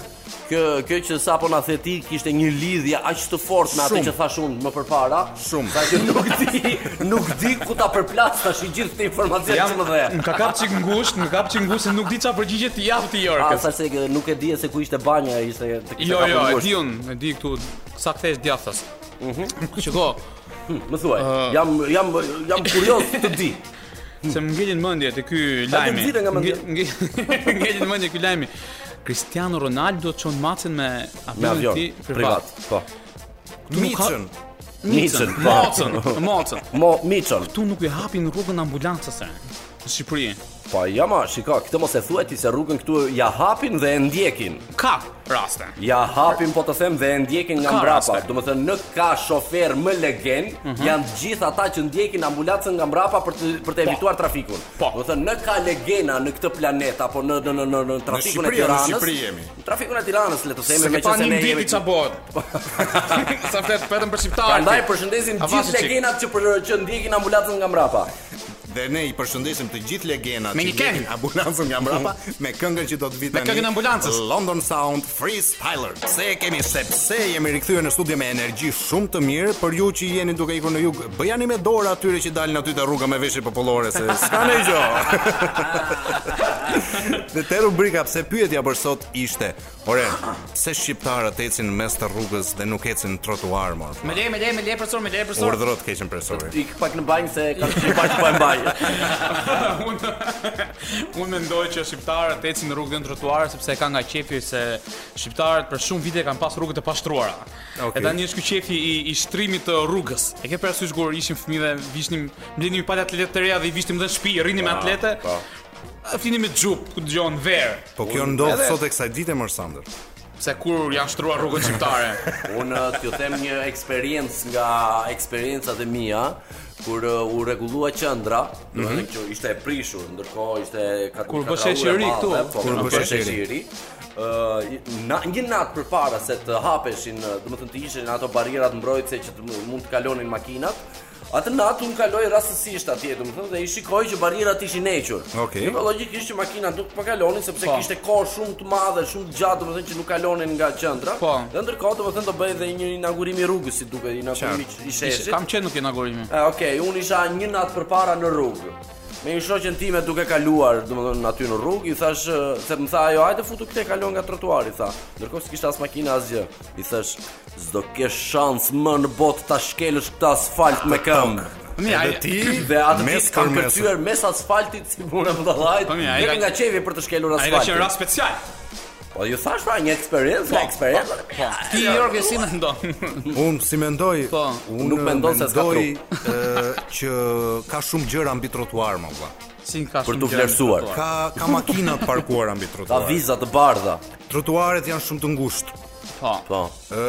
Speaker 3: Kjo kjo që sapo na the ti kishte një lidhje aq të fortë me atë
Speaker 1: Shumë.
Speaker 3: që thash unë më përpara.
Speaker 1: Shumë.
Speaker 3: Sa që nuk di, nuk di ku ta përplas tash i gjithë këtë informacion që më dhe.
Speaker 2: Më ka kap çik ngusht, më kap çik ngusht se nuk di çfarë përgjigje ti jap ti
Speaker 3: A
Speaker 2: Jorgen.
Speaker 3: sa se e, nuk e di se ku ishte banja, ishte të kishte
Speaker 2: Jo,
Speaker 3: kapur
Speaker 2: jo, e
Speaker 3: ngushtë.
Speaker 2: di unë, e di këtu sa kthesh djathtas. Mhm. Shiko,
Speaker 3: Më thuaj, jam jam jam kurioz të di.
Speaker 2: se më ngelin mendje te ky
Speaker 3: të
Speaker 2: lajmi.
Speaker 3: nxirë nga mendja.
Speaker 2: Nge- nge- Ngelin mendje ky lajmi. Cristiano Ronaldo çon macën me
Speaker 3: Me avion
Speaker 2: avionin ti
Speaker 3: privat, po.
Speaker 2: nuk ka-
Speaker 1: Miçën.
Speaker 2: Micën,
Speaker 3: Micën, po.
Speaker 2: mocën, mocën.
Speaker 3: Mo Miçon.
Speaker 2: Tu nuk i hapin rrugën ambulancës e. Në Shqipëri.
Speaker 3: Po ja ma, shiko, këtë mos e thuaj ti se rrugën këtu ja hapin dhe e ndjekin.
Speaker 2: Ka raste.
Speaker 3: Ja hapin po të them dhe e ndjekin nga
Speaker 2: Ka
Speaker 3: mbrapa.
Speaker 2: raste.
Speaker 3: Do të thënë në ka shofer më legen, janë të gjithë ata që ndjekin ambulancën nga mbrapa për të për të evituar trafikun.
Speaker 2: Po.
Speaker 3: Do të thënë në ka legena në këtë planet apo në në në në, në trafikun
Speaker 1: Shqipëri, në
Speaker 3: e Tiranës.
Speaker 1: Shqipëri jemi.
Speaker 3: Në trafikun e Tiranës le të
Speaker 2: Se
Speaker 3: themi
Speaker 2: ka
Speaker 3: meqense
Speaker 2: një
Speaker 3: ne
Speaker 2: nditi
Speaker 3: jemi.
Speaker 2: qa bëhet Sa flet vetëm për shqiptarët.
Speaker 3: Prandaj përshëndesim gjithë legenat që për, që ndjekin ambulancën nga mbrapa.
Speaker 1: Dhe ne i përshëndesim të gjithë legendat
Speaker 2: Me një
Speaker 1: që vjetin
Speaker 2: këngë.
Speaker 1: ambulancën nga mbrapa me këngën që do të vitë
Speaker 2: Me këngën ambulancës.
Speaker 1: London Sound Freestyler. Se e kemi sepse jemi rikthyer në studio me energji shumë të mirë për ju që jeni duke ikur në jug. Bëjani me dorë atyre që dalin aty te rruga me veshje popullore se s'ka ne gjë. Dhe te rubrika pse pyetja për sot ishte, ore, pse shqiptarët ecin në mes të rrugës dhe nuk ecin në trotuar më?
Speaker 2: Me le, me le, me le profesor, me le profesor.
Speaker 1: Urdhërot keqen presori.
Speaker 3: Ik pak në banjë se ka të pak po e mbaj.
Speaker 2: unë unë mendoj që shqiptarët ecin në rrugën e trotuar sepse ka nga qefi se shqiptarët për shumë vite kanë pas rrugët e pashtruara.
Speaker 1: Okej.
Speaker 2: E tani është ky qefi i, i shtrimit të rrugës. E ke parasysh kur ishim fëmijë dhe vishnim mbledhnim palë atletë të reja dhe i vishnim dhe në shtëpi, rrinim me atlete. Po. Flinim me xhup, ku dëgjon verë,
Speaker 1: Po kjo ndodh sot e kësaj dite më Sander.
Speaker 2: se kur janë shtruar rrugët shqiptare.
Speaker 3: Unë t'ju them një eksperiencë nga eksperiencat e mia kur uh, u rregullua qendra, do të që ishte e prishur, ndërkohë ishte ka
Speaker 2: Kur
Speaker 3: ka
Speaker 2: bë
Speaker 3: krahur e
Speaker 2: sheqeri
Speaker 3: madhe,
Speaker 2: këtu,
Speaker 3: po,
Speaker 1: kur
Speaker 3: kur
Speaker 1: bë
Speaker 3: bë
Speaker 1: sheqeri.
Speaker 3: sheqeri. Ë na, një natë përpara se të hapeshin, ë, domethënë të ishin ato barrierat mbrojtëse që të mu- mund të kalonin makinat, Atë natë unë kaloj rastësisht atje, domethënë dhe i shikoj që barrierat ishin hequr.
Speaker 1: Okej.
Speaker 3: Dhe logjikisht që makinat nuk po kalonin sepse
Speaker 2: Po.
Speaker 3: kishte kohë shumë të madhe, shumë të gjatë, domethënë që nuk kalonin nga qendra.
Speaker 2: Po.
Speaker 3: Dhe ndërkohë domethënë do bëhej edhe një inaugurim i rrugës, si duket, inaugurimi i- i
Speaker 2: Ishte-
Speaker 3: sheshit.
Speaker 2: Kam qenë nuk inaugurimi.
Speaker 3: E, Okej, unë isha një natë përpara në rrugë. Me një shoqen time duke kaluar, domethënë aty në rrugë, i thash e, se më tha ajo, hajde futu këthe kalon nga trotuari, tha. Ndërkohë s'kishte as makina asgjë. I thash, s'do kesh shans më në botë ta shkelësh këtë
Speaker 2: Ah,
Speaker 3: asfalt me këmbë.
Speaker 2: Mirë, ai-
Speaker 1: Edhe ti
Speaker 3: Dhe atë
Speaker 1: mes
Speaker 3: ditë kam
Speaker 1: për mes.
Speaker 3: kërcyer mes asfaltit si bura budallajt.
Speaker 2: Po mirë, ai
Speaker 3: Deri
Speaker 2: ka-
Speaker 3: nga qevi për të shkelur
Speaker 2: Ai ka qenë
Speaker 3: asfaltin.
Speaker 2: rast special.
Speaker 3: Po ju thash pra një
Speaker 2: Po,
Speaker 3: eksperiencë, ka eksperiencë.
Speaker 2: Ti Jorge si mendon?
Speaker 1: Unë si mendoj,
Speaker 2: Po.
Speaker 1: unë
Speaker 3: Nuk mendon se s'ka
Speaker 1: mendoj, ë, që ka shumë gjëra mbi trotuar më valla.
Speaker 3: Po.
Speaker 2: Si ka
Speaker 3: Për
Speaker 2: shumë
Speaker 3: t'u
Speaker 2: gjëra
Speaker 3: vlerësuar.
Speaker 2: në trotuar.
Speaker 1: Ka ka makina të parkuara mbi
Speaker 3: Ta
Speaker 1: trotuar.
Speaker 3: viza të bardha.
Speaker 1: Trotuaret janë shumë të ngushtë.
Speaker 2: Po.
Speaker 3: Po.
Speaker 1: Ë,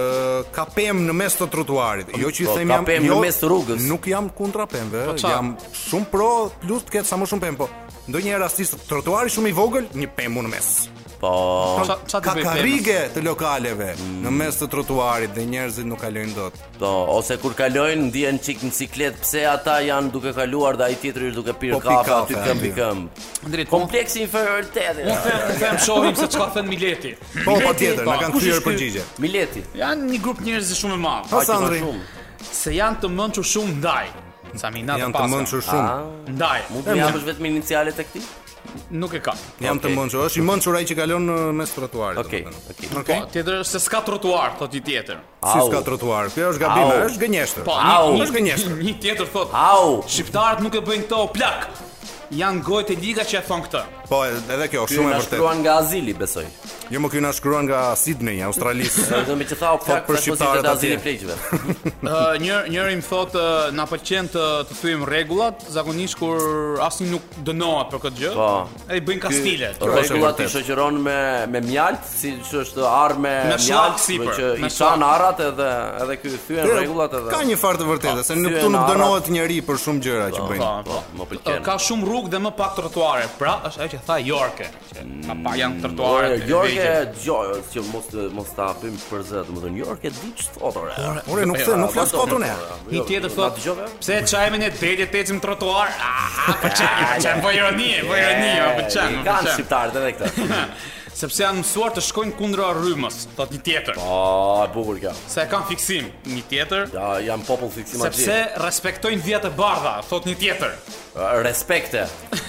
Speaker 1: ka pemë në mes të trotuarit. Jo që i
Speaker 3: Po,
Speaker 1: them
Speaker 3: ka
Speaker 1: jam
Speaker 3: pemë
Speaker 1: jo,
Speaker 3: në mes të rrugës.
Speaker 1: Nuk jam kundra pemëve,
Speaker 2: qa?
Speaker 1: jam shumë pro, plus të ketë sa më shumë pemë, po ndonjëherë rastisht trotuari shumë i vogël, një pemë në mes.
Speaker 3: Po.
Speaker 2: Qa- qa të
Speaker 1: ka
Speaker 2: bëj
Speaker 1: karrige të lokaleve në mes të trotuarit dhe njerëzit nuk kalojnë dot.
Speaker 3: Po, ose kur kalojnë ndihen çik në ciklet, pse ata janë duke kaluar dhe ai tjetri është duke pirë
Speaker 1: Po, pi
Speaker 3: kafe aty
Speaker 1: kafe,
Speaker 3: këmb
Speaker 1: aty.
Speaker 3: i këmb.
Speaker 2: Drejt. Komplet.
Speaker 3: Kompleksi i inferioritetit.
Speaker 2: Po. Unë them, unë them shohim se çka thën Mileti.
Speaker 1: Po patjetër, na kanë
Speaker 3: Kush
Speaker 1: kthyer
Speaker 3: është ky?
Speaker 1: përgjigje.
Speaker 3: Mileti.
Speaker 2: Janë një grup njerëz shumë i madh.
Speaker 1: Po
Speaker 3: Aq i
Speaker 1: Sandri,
Speaker 3: ma shumë.
Speaker 2: se janë të mençur shumë ndaj. Sa mina të
Speaker 1: janë të
Speaker 2: paska.
Speaker 1: mençur shumë.
Speaker 3: Ah,
Speaker 2: Ndaj.
Speaker 3: Mund të më japësh vetëm inicialet e këtij?
Speaker 2: Nuk e kam.
Speaker 1: Jam të
Speaker 3: Okej.
Speaker 1: mençur, është i mençur ai që kalon në mes trotuarit.
Speaker 3: Okej,
Speaker 1: domethënë.
Speaker 3: okej.
Speaker 2: Po,
Speaker 1: Okej.
Speaker 2: tjetër është se s'ka trotuar, thotë një tjetër.
Speaker 1: Si
Speaker 3: Po, Au.
Speaker 1: s'ka trotuar? Kjo është gabim,
Speaker 3: Au.
Speaker 1: është gënjeshtër.
Speaker 2: Po,
Speaker 3: Au.
Speaker 2: një,
Speaker 1: Është
Speaker 2: një,
Speaker 1: gënjeshtër.
Speaker 2: një tjetër thotë,
Speaker 3: Au.
Speaker 2: shqiptarët nuk e bëjnë këto o plak. Janë gojët e liga që e thon këtë.
Speaker 1: Po, edhe kjo
Speaker 3: Shumë
Speaker 1: shumë e
Speaker 3: na
Speaker 1: vërtetë.
Speaker 3: shkruan nga azili, besoj.
Speaker 1: Jo më ky na shkruan nga Sydney, Australisë.
Speaker 3: Do me që thau pak
Speaker 1: për
Speaker 3: për
Speaker 1: shqiptarët
Speaker 3: shqiptarët e azili
Speaker 1: atje.
Speaker 3: pleqëve.
Speaker 2: Ë, një njëri më thotë ë, na pëlqen të të thyejm rregullat, zakonisht kur asnjë nuk dënohet për këtë gjë.
Speaker 3: Po.
Speaker 2: Ai bëjnë kastile.
Speaker 1: është e
Speaker 3: Rregullat i
Speaker 1: vërtetë.
Speaker 3: shoqëron me me mjalt, siç është armë
Speaker 2: Me shllak
Speaker 3: mjalt,
Speaker 2: sipër,
Speaker 3: që
Speaker 2: me
Speaker 3: i shan
Speaker 2: shllak.
Speaker 3: arrat edhe edhe ky thyen rregullat edhe.
Speaker 1: Ka një farë të vërtetë, se nuk
Speaker 3: kthyen
Speaker 1: këtu nuk
Speaker 3: arrat.
Speaker 1: dënohet njëri për shumë gjëra që
Speaker 2: Po,
Speaker 1: bëjnë.
Speaker 2: po.
Speaker 3: më pëlqen.
Speaker 2: Ka shumë rrugë dhe më pak trotuare. Pra, është ajo që tha Jorke, që ka pak janë trotuare.
Speaker 3: Mm, Ore, Po, Jorge, dëgjoj, që mos mos ta hapim për zë, domethënë Jorge di ç'thot ore.
Speaker 1: Ore, Po, nuk the,
Speaker 3: po,
Speaker 1: nuk flas kot unë.
Speaker 2: Një tjetër
Speaker 3: Na
Speaker 2: thotë,
Speaker 3: Jo, dëgjove?
Speaker 2: pse çajmin e detit të ecim trotuar? Ah, po çajm, po çajm, po ironi, po ironi, po çajm, po
Speaker 3: Kan
Speaker 2: çajm.
Speaker 3: shqiptarët edhe këtë.
Speaker 2: Sepse janë mësuar të shkojnë kundra rrymës, thot një tjetër.
Speaker 3: Po, e bukur kjo.
Speaker 2: Se e kanë fiksim, një tjetër.
Speaker 3: Ja, jam popull fiksim
Speaker 2: Sepse respektojnë vijat e bardha, thot një tjetër.
Speaker 3: Respekte.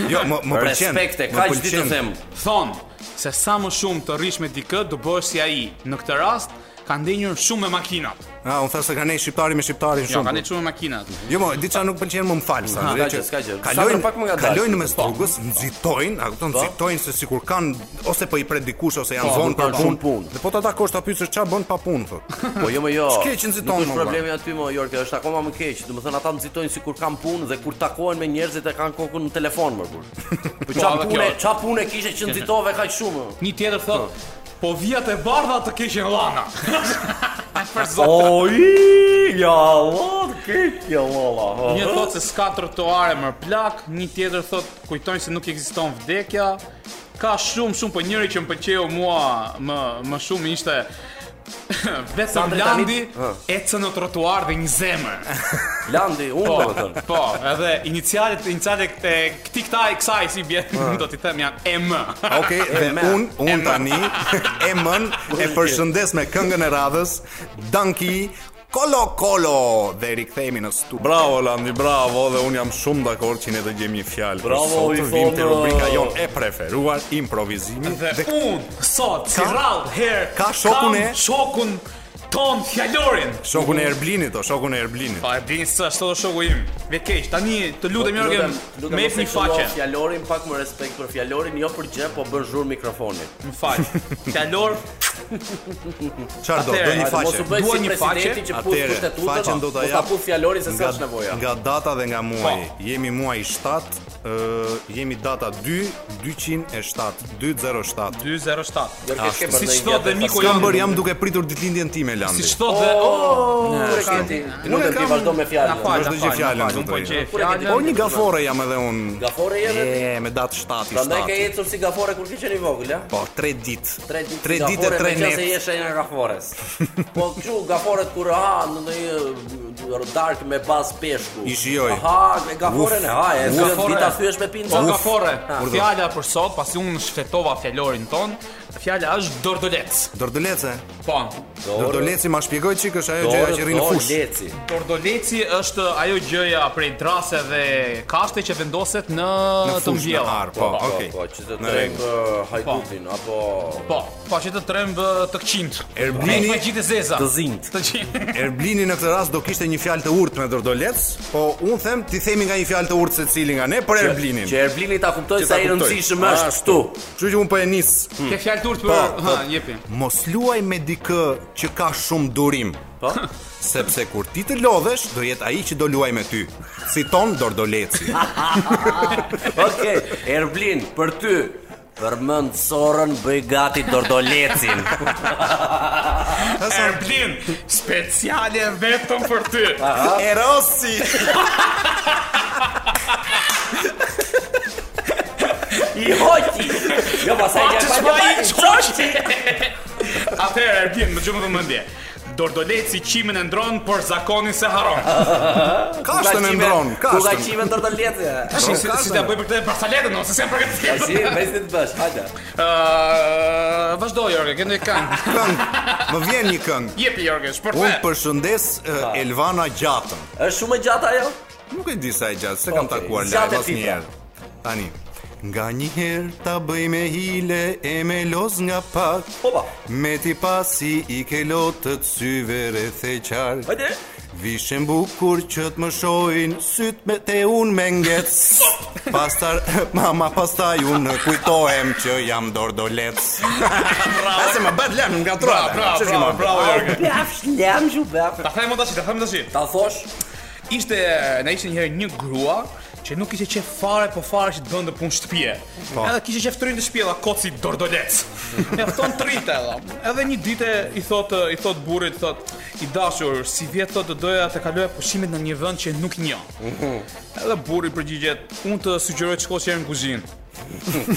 Speaker 1: Jo, më më pëlqen.
Speaker 3: Respekte,
Speaker 1: më
Speaker 3: kaq di të
Speaker 1: pëlqen.
Speaker 3: them.
Speaker 2: Thon se sa më shumë të rrish me dikë, do bësh si ai. Në këtë rast ka ndenjur shumë me makinat.
Speaker 1: Ah, unë thashë se kanë ne shqiptari me shqiptarin
Speaker 2: Jo, ka
Speaker 1: shumë. po.
Speaker 2: ndenjur shumë me makinat.
Speaker 1: Jo, më diçka nuk pëlqen më mfal sa.
Speaker 3: s'ka gjë, s'ka gjë.
Speaker 1: Kalojnë
Speaker 3: Sa pak më nga dashur. Po.
Speaker 1: kalojnë mes rrugës, nxitojnë, a kupton, nxitojnë se sikur kanë ose po i pret dikush ose janë
Speaker 3: Po,
Speaker 1: vonë
Speaker 3: nuk
Speaker 1: për
Speaker 3: kanë shumë punë.
Speaker 1: punë. Dhe po ta takosh ta pyesësh ç'a bën pa punë thotë.
Speaker 3: Po jo më jo.
Speaker 1: S'ke që nxiton,
Speaker 3: Nuk
Speaker 1: mo,
Speaker 3: është
Speaker 1: vlla.
Speaker 3: problemi aty më Jorge, është akoma më keq. Domethënë ata nxitojnë sikur kanë punë dhe kur takohen me njerëzit e kanë kokën në telefon më kur. Po ç'a
Speaker 2: edhe kjo
Speaker 3: punë,
Speaker 2: është.
Speaker 3: ç'a punë kishe që nxitove kaq shumë?
Speaker 2: Një tjetër thot, po vijat e bardha të keqin llana. Për zot.
Speaker 3: Oj, ja, vot keq ja valla.
Speaker 2: Një thot se s'ka trotuare më plak, një tjetër thot kujtojnë se nuk ekziston vdekja. Ka shumë shumë, po njëri që më pëlqeu mua më më shumë ishte vetëm
Speaker 3: Sandri,
Speaker 2: Landi
Speaker 3: tani-
Speaker 2: ecën në trotuar dhe një zemër.
Speaker 3: Landi, unë domethënë.
Speaker 2: Po, edhe inicialet inicialet e këtij këta e kësaj si bie, do t'i them janë M.
Speaker 1: Okej, dhe
Speaker 3: Emën.
Speaker 1: un un tani e mën e përshëndes me këngën e radhës Danki Kolo Kolo dhe rikthehemi në stu. Bravo Landi, bravo dhe un jam shumë dakord që ne do gjejmë një fjalë.
Speaker 3: Bravo, i thonë, uh,
Speaker 1: te rubrika
Speaker 3: ë,
Speaker 1: jon e preferuar improvizimi
Speaker 2: Dhe unë sot si
Speaker 1: Ka-
Speaker 2: rall herë
Speaker 1: ka shokun
Speaker 2: kam
Speaker 1: e-
Speaker 2: shokun ton fjalorin.
Speaker 1: shokun e Erblinit, o shokun e Erblinit.
Speaker 2: Pa e bini së është të shoku im Vetë keq, tani të lutem Jorgen
Speaker 3: Po, lutem
Speaker 2: Me
Speaker 3: mos
Speaker 2: jep
Speaker 3: e
Speaker 2: një
Speaker 3: shëllo
Speaker 2: faqe
Speaker 3: Fjalorin pak më respekt për fjalorin, jo për gjë, po bën zhur mikrofonin.
Speaker 2: Më faq Fjallor
Speaker 1: Çfarë do?
Speaker 2: Atëherë,
Speaker 1: Do një
Speaker 2: hajde,
Speaker 3: Mos
Speaker 1: faqe.
Speaker 3: u bëj
Speaker 2: Dua
Speaker 3: si
Speaker 2: një
Speaker 3: presidenti
Speaker 2: faqe,
Speaker 3: që puth
Speaker 1: Atëre,
Speaker 3: kushtetutën.
Speaker 1: faqen do ta
Speaker 3: mos
Speaker 1: jap.
Speaker 3: ta puth fjalorin se s'ka nevoja.
Speaker 1: Nga data dhe nga muaji. Jemi muaj 7, ë jemi data 2 207 207.
Speaker 2: 207.
Speaker 3: Jorke, s'ke
Speaker 1: ashtu.
Speaker 3: bërë
Speaker 2: Si
Speaker 3: ndonjë
Speaker 2: çdo
Speaker 3: gjë
Speaker 2: dhe
Speaker 3: të
Speaker 2: miku
Speaker 3: fasad.
Speaker 1: Kam bër jam duke pritur ditëlindjen time Landi.
Speaker 2: Si çdo dhe oh,
Speaker 3: Kur e keti? Ti Po, nuk
Speaker 1: Unë
Speaker 3: e
Speaker 1: kam-
Speaker 3: ke vazhdo me
Speaker 2: na
Speaker 3: fjalën.
Speaker 2: fal,
Speaker 1: Vazhdo
Speaker 2: na
Speaker 1: gjë
Speaker 2: fal,
Speaker 1: fjalën,
Speaker 2: na fal, unë po
Speaker 1: zotëri.
Speaker 2: gjej
Speaker 3: Kur e ke
Speaker 2: fjalën.
Speaker 1: Po një gafore jam edhe unë.
Speaker 3: Gafore je vetë?
Speaker 1: E, me datë 7 i
Speaker 3: Prandaj ke
Speaker 1: 7.
Speaker 3: ecur si gafore kur ke qenë i vogël, a?
Speaker 1: Po, 3 ditë.
Speaker 3: Tre ditë
Speaker 1: 3 ditë e 3
Speaker 3: Se
Speaker 1: net.
Speaker 3: je shenja e gafores. Po kështu gaforet kur ha në ndonjë dark me baz peshku.
Speaker 1: I shijoj.
Speaker 3: Ha, me gaforen e ha, e
Speaker 2: Uf.
Speaker 3: zënë vita thyesh me pinë.
Speaker 2: Po
Speaker 3: ca.
Speaker 2: gafore,
Speaker 3: Ha.
Speaker 2: fjala për sot, pasi unë shfletova fjalorin ton, fjala është dordolec.
Speaker 1: Dordolece.
Speaker 2: Po,
Speaker 1: Dordoleci ma shpjegoj çik është ajo gjëja
Speaker 3: Dorë,
Speaker 1: që rrin në
Speaker 3: dorë,
Speaker 1: fush.
Speaker 3: leci.
Speaker 2: dordoleci është ajo gjëja prej drase dhe kashte që vendoset në,
Speaker 1: Në
Speaker 2: të
Speaker 1: fush në
Speaker 2: mbjella.
Speaker 1: ar, po, okay.
Speaker 3: Po, që të
Speaker 1: Në
Speaker 3: treg
Speaker 1: rregull.
Speaker 3: hajdutin apo
Speaker 2: Po, pa që të tremb ë, të këqind.
Speaker 1: Erblini-
Speaker 2: Me gjithë e zeza.
Speaker 3: të zinjt.
Speaker 2: Të gjithë.
Speaker 1: Erblini në këtë rast do kishte një fjalë të urtë me Dordolec, po un them ti themi nga një fjalë të urtë secili nga ne për Erblinin.
Speaker 3: Që Erblini ta kuptoj
Speaker 1: Që ta
Speaker 3: sa i
Speaker 1: kuptoj. Ah,
Speaker 3: rëndësishëm është këtu.
Speaker 1: Kështu që un po e nis.
Speaker 2: Ke fjalë turt për,
Speaker 1: Po,
Speaker 2: ha,
Speaker 1: po.
Speaker 2: jepi.
Speaker 1: Mos luaj me dikë që ka shumë durim,
Speaker 3: Po.
Speaker 1: sepse kur ti të lodhesh do jetë ai që do luaj me ty. Si ton Dordoleci.
Speaker 3: Okej, Erblin, për ty përmend Sorën bëj gati Dordolecin.
Speaker 1: Hasan
Speaker 2: Erblin, speciale vetëm për ty.
Speaker 1: Erosi.
Speaker 3: I hoqi. Jo, pasaj ja
Speaker 2: Çfarë
Speaker 3: pa
Speaker 2: i çoshti? Atëherë Erblin, më gjumë vëmendje. Dordoleci qimin e ndron, por zakonin se haron.
Speaker 1: Kashtën e ndron,
Speaker 3: Ku ka
Speaker 1: kashtën.
Speaker 3: qimen Dordolecin?
Speaker 2: Si si- si ta bëj për këtë parsaletën ose s'e përgatitur.
Speaker 3: Si, vajzë të bësh, hajde.
Speaker 2: Ë, vazhdo Ah, Jorge, keni këngë.
Speaker 1: Këngë. Më vjen një këngë.
Speaker 2: Jepi Jorge,
Speaker 1: Unë
Speaker 2: shpërthe.
Speaker 1: përshëndes eh, Elvana Gjatën.
Speaker 3: Është shumë e gjatë ajo?
Speaker 1: Nuk e di sa e gjatë, se kam
Speaker 3: Okej,
Speaker 1: takuar
Speaker 3: zjate
Speaker 1: live asnjëherë. Tani, nga një herë ta bëj me hile e me loz nga pak.
Speaker 3: Hopa.
Speaker 1: Me ti pasi i ke lotë të syve rreth e qark.
Speaker 3: Hajde.
Speaker 1: Vishen bukur që të më shojnë Syt me te unë me ngec Pastar, mama pastaj unë në kujtohem që jam dordolec Bravo se më bët lem nga
Speaker 2: Bravo, bravo, bravo, bravo Jorge.
Speaker 3: Bjaf, lem ju bjaf.
Speaker 2: Ta them tash, ta them tash.
Speaker 3: Ta thosh,
Speaker 2: Ishte na ishte një herë një grua që nuk kishte qef fare po fare që të bënte punë shtëpie. Edhe kishte qef të rinë në shtëpi dha koci dordolec. E thon trita edhe. Edhe një ditë i thot i thot burrit thot i dashur si vjet thot do doja të kaloja pushimet në një vend që nuk njoh. Edhe burri përgjigjet, unë të sugjeroj të shkosh herë në kuzhinë.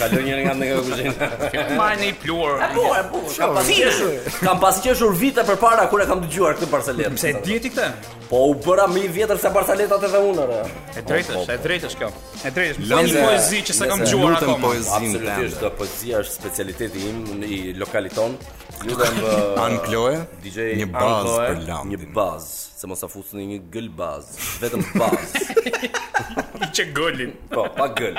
Speaker 3: kaloj njëri nga në kuzhinë.
Speaker 2: Marr një pluhur.
Speaker 3: Po, e po, kam pasi qeshur. Kam pasi qeshur vite përpara kur e kam dëgjuar këtë Barcelet.
Speaker 2: Pse e dieti këtë?
Speaker 3: Po u bëra më i vjetër se Barceletat edhe unë. re.
Speaker 2: E drejtë është, e drejtë është kjo. E drejtë është. po
Speaker 1: Lëndë-
Speaker 2: Një poezi që s'e kam
Speaker 3: Lëndë-
Speaker 2: dëgjuar
Speaker 1: Lutëm
Speaker 2: akoma.
Speaker 1: poezin
Speaker 3: Absolutisht,
Speaker 1: tënde
Speaker 3: do poezia është specialiteti im në- i lokalit ton. Lutem ë,
Speaker 1: An Kloe,
Speaker 3: DJ
Speaker 1: një
Speaker 3: Anko
Speaker 1: bazë
Speaker 3: e,
Speaker 1: për
Speaker 3: Një
Speaker 1: landin
Speaker 3: bazë, se mos ta fusni një gël bazë, vetëm bazë.
Speaker 2: I që golin.
Speaker 3: Po, pa gël.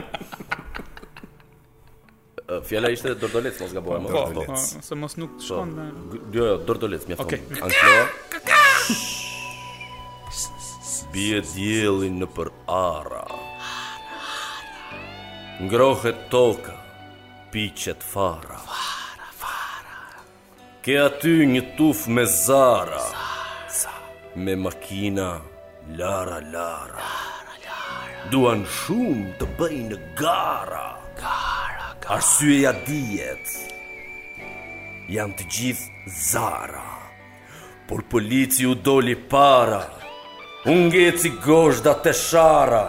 Speaker 3: Ë, Fjala ishte Dordolec, mos gabohem.
Speaker 2: Po,
Speaker 3: Po,
Speaker 2: po, se mos nuk shkon me...
Speaker 3: Jo, jo, Dordolec, mjafton.
Speaker 2: Okej.
Speaker 3: Anklo. Bie dielli në për ara. Ngrohet toka, piqet fara. Fara, fara. Ke aty një tuf me zara. Me makina lara lara. Lara lara. Duan shumë të bëjnë gara. Gara, gara. Arsyeja dihet janë të gjithë zara. Por polici u doli para, unë ngeci gozhda të shara,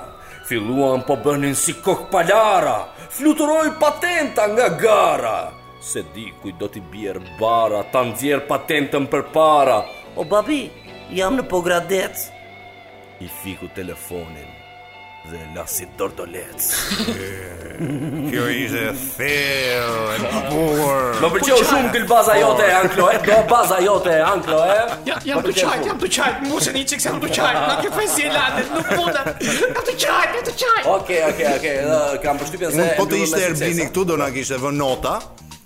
Speaker 3: filluan po bënin si kokë palara, fluturoj patenta nga gara. Se di kuj do t'i bjerë bara, ta nxjerë patentën për para. O babi, jam në pogradec. I fiku telefonin dhe e la si dordolec.
Speaker 1: Kjo ishte thellë, e bukur
Speaker 3: Më pëlqeu shumë gëlbaza jote e Ankloe, do baza jote e Ankloe.
Speaker 2: Ja, jam të qajt, jam të qajt, moshen i qikë se jam të qajt, në kjo fesi e lanet, nuk mundet, jam të qajt, jam të qajt.
Speaker 3: Okej, okej, okej. ë, Kam përshtypjen se
Speaker 1: Unë po të
Speaker 3: luhem
Speaker 1: ishte
Speaker 3: me sukses,
Speaker 1: Erblini
Speaker 3: a?
Speaker 1: këtu do na kishte vënë nota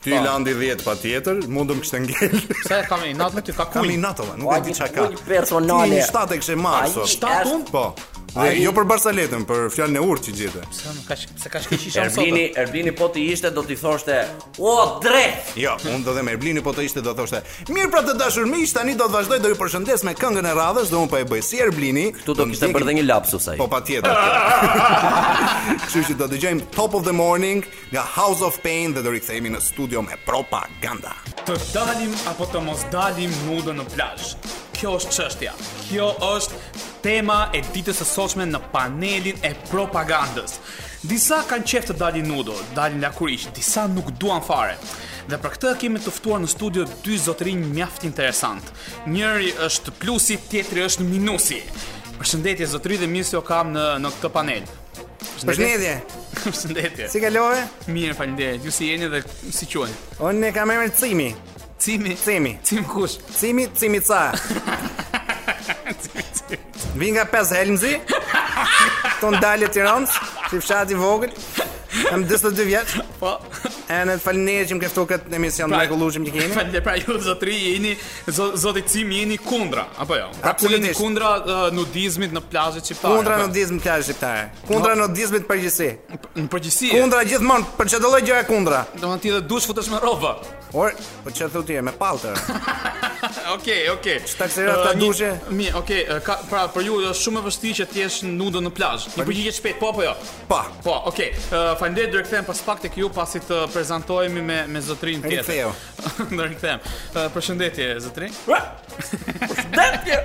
Speaker 1: Ty landi 10 pa tjetër, mundëm kështë ngel
Speaker 2: Pse e kam i natë me ty, ka
Speaker 1: Kam i
Speaker 2: kuj?
Speaker 1: natova, nuk e di qa ka
Speaker 3: Ujë Po, personale.
Speaker 1: Ti një shtatë e kështë marë
Speaker 3: Ai,
Speaker 1: sot
Speaker 2: Shtatun?
Speaker 1: Po, Dhe jo për Barsaletën, për fjalën e urtë që gjete.
Speaker 2: Se ka sh- se ka shkëqi shumë sot.
Speaker 3: Erblini, Erblini po të ishte do t'i thoshte, "O drejt."
Speaker 1: Jo, unë do dhe me Erblini, po të ishte do thoshte, "Mirë pra të dashur miq, tani do të vazhdoj do ju përshëndes me këngën e radhës dhe unë po e bëj si Erblini."
Speaker 3: Tu do kishte bërë dhe një lapsus ai.
Speaker 1: Po patjetër. Kështu që do dëgjojmë Top of the Morning nga House of Pain dhe do rikthehemi në studio me propaganda.
Speaker 2: Të dalim apo të mos dalim nudo në plazh. Kjo është çështja. Kjo është tema e ditës së sotshme në panelin e propagandës. Disa kanë qef të dalin nudo, dalin lakurisht, disa nuk duan fare. Dhe për këtë kemi të ftuar në studio dy zotërinj mjaft interesant. Njëri është plusi, tjetri është minusi. Përshëndetje zotëri dhe mirë se ju kam në në këtë panel.
Speaker 5: Përshëndetje,
Speaker 2: Përshëndetje.
Speaker 5: si kalove?
Speaker 2: Mirë, faleminderit. Ju si jeni dhe si quheni?
Speaker 5: Unë e kam emrin Cimi.
Speaker 2: Cimi.
Speaker 5: Cimi.
Speaker 2: Cim kush?
Speaker 5: Cimi, Cimi Ca. Vi nga 5 Helmzi. Ton dalë Tiranës, si fshat i vogël. Kam 42 vjeç.
Speaker 2: Po.
Speaker 5: E në të falinejë që më keftu këtë emision
Speaker 2: Pra-
Speaker 5: mrekullueshëm që keni.
Speaker 2: Falë, pra ju zotëri jeni zo- zoti Cimi jeni kundra, apo jo? Apo
Speaker 5: Absolutisht.
Speaker 2: jeni kundra uh, nudizmit në plazhet shqiptare.
Speaker 5: Kundra
Speaker 2: apo jo?
Speaker 5: nudizmit plazh shqiptare. Kundra nudizmit përgjithësi.
Speaker 2: në përgjithësi. Kundra.
Speaker 5: Kundra gjithmonë për çdo lloj gjëje kundra.
Speaker 2: Domethënë ti dhe dush futesh me rroba.
Speaker 5: Or, po çfarë thotë ti me palltër?
Speaker 2: Okej, okej.
Speaker 5: Shtaksera
Speaker 2: Eh,
Speaker 5: ta
Speaker 2: një-
Speaker 5: dushe?
Speaker 2: Mirë, okej, eh, ka pra për ju është shumë e vështirë që të jesh nudo në plazh. Një përgjigje shpejt, po apo jo?
Speaker 5: Po.
Speaker 2: Po, okej. Uh, Faleminderit, do rikthehem pas pak tek ju pasi të prezantohemi me me zotrin tjetër.
Speaker 5: Riktheu.
Speaker 2: do rikthehem. Eh, përshëndetje zotrin.
Speaker 3: Detje.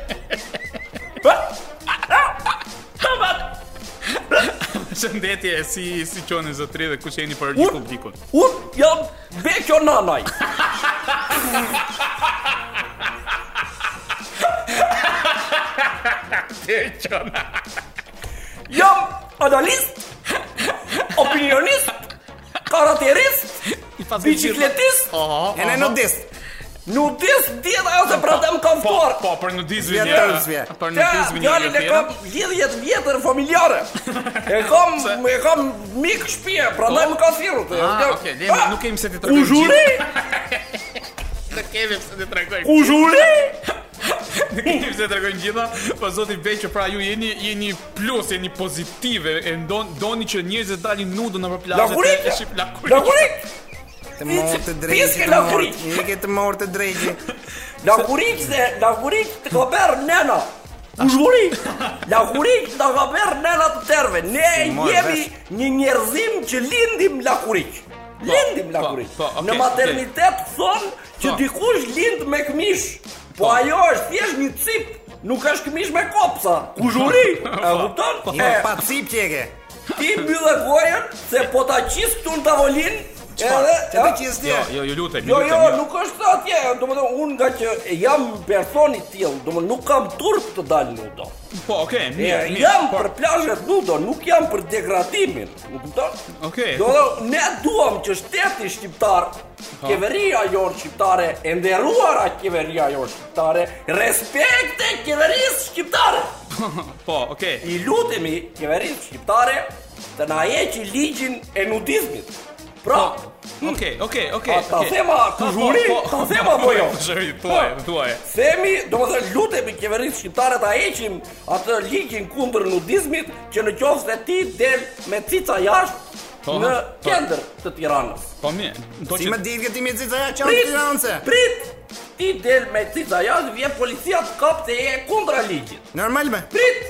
Speaker 1: po.
Speaker 2: Përshëndetje, si si qoni zotri dhe kush jeni për gjithë publikun?
Speaker 3: Un jam vekjo nanaj. Jam analist, opinionist, karaterist,
Speaker 2: I pas
Speaker 3: bicikletist,
Speaker 5: E në nudist.
Speaker 3: nudist, djeta ose pratem kam
Speaker 2: Po,
Speaker 3: por.
Speaker 2: po, për nudizmin
Speaker 5: Vjetë
Speaker 2: një herë.
Speaker 5: tërësvje.
Speaker 2: Për
Speaker 3: Ja,
Speaker 2: nudizmin një
Speaker 3: djalin e
Speaker 2: herë.
Speaker 3: kam lidhjet vjetër familjare. E kam e kam mik shtëpi, prandaj më ka thirrur.
Speaker 2: Po. Ah, okej, lemi, nuk kemi se ti tregoj.
Speaker 3: Uzhuri,
Speaker 2: Nuk kemi se ti tregoj.
Speaker 3: uzhuri.
Speaker 2: Nuk kemi se tregojnë gjitha, po zoti Bej që pra ju jeni jeni plus, jeni pozitive, e ndon, doni që njerëzit dalin nudo nëpër plazhet.
Speaker 3: Lakurit!
Speaker 2: e shqip lakurit.
Speaker 3: Lakurit,
Speaker 5: Të morë të drejtë.
Speaker 3: Piske
Speaker 5: të morë-
Speaker 3: lakuri.
Speaker 5: Një ke të morë të drejtë.
Speaker 3: lakurit se lakurit të ka berë nena. Uzhuri, lakurit të ka berë nena të terve. Ne
Speaker 5: morë
Speaker 3: jemi një njerëzim që lindim lakurit. Lindim
Speaker 2: po,
Speaker 3: lakurit.
Speaker 2: po, okej,
Speaker 3: Në maternitet thonë që
Speaker 2: Po.
Speaker 3: dikush lind me këmish, po ajo është thjesht një cip. Nuk është këmish me kopsa. Uzhuri,
Speaker 2: Po,
Speaker 3: e kupton?
Speaker 5: Një
Speaker 3: E,
Speaker 5: Jo, pa cip që e ke.
Speaker 3: Ti mbyllë gojën se po ta qis këtu në tavolinë, edhe
Speaker 5: Që të
Speaker 3: ha?
Speaker 5: qisë
Speaker 2: Jo,
Speaker 5: tje.
Speaker 2: jo, ju lutem, ju
Speaker 3: Jo,
Speaker 2: lutem.
Speaker 3: jo,
Speaker 2: ju-
Speaker 3: nuk është atje, do më thonë, unë nga që jam personi tjilë, do më nuk kam turp të dalë nudo.
Speaker 2: Po, okej, mirë,
Speaker 3: E,
Speaker 2: mirë.
Speaker 3: jam
Speaker 2: po,
Speaker 3: për plazhet nudo, nuk jam për degradimin, nuk kupton?
Speaker 2: Okej.
Speaker 3: Do të thonë, ne duam që shteti shqiptar,
Speaker 2: Po.
Speaker 3: qeveria jonë shqiptare, e nderuara qeveria jonë shqiptare, respekte qeverisë shqiptare.
Speaker 2: Po, okej.
Speaker 3: I lutemi qeverisë shqiptare të na heqë ligjin e nudizmit. Pra,
Speaker 2: Po. Okej, okej, okej.
Speaker 3: Ta- ta
Speaker 2: okej.
Speaker 3: thema,
Speaker 2: Po, po,
Speaker 3: zhuri,
Speaker 2: po.
Speaker 3: ta thema, po, jo.
Speaker 2: Zhuri, thuaj, thuaj.
Speaker 3: Themi, do më dhe lutemi qeverisë shqiptare ta heqim atë ligjin kundër nudizmit që në qoftë se ti del me cica
Speaker 2: Po,
Speaker 3: jashtë në
Speaker 2: po.
Speaker 3: qendër të Tiranës.
Speaker 2: Po mirë, do
Speaker 5: Si
Speaker 2: që
Speaker 5: më ditë këti me cica ja qanë
Speaker 3: Prit,
Speaker 5: tiranëse
Speaker 3: prit, ti del me cica jashtë, vjen policia të kap se je kundra ligjit.
Speaker 5: Normal me
Speaker 3: Prit,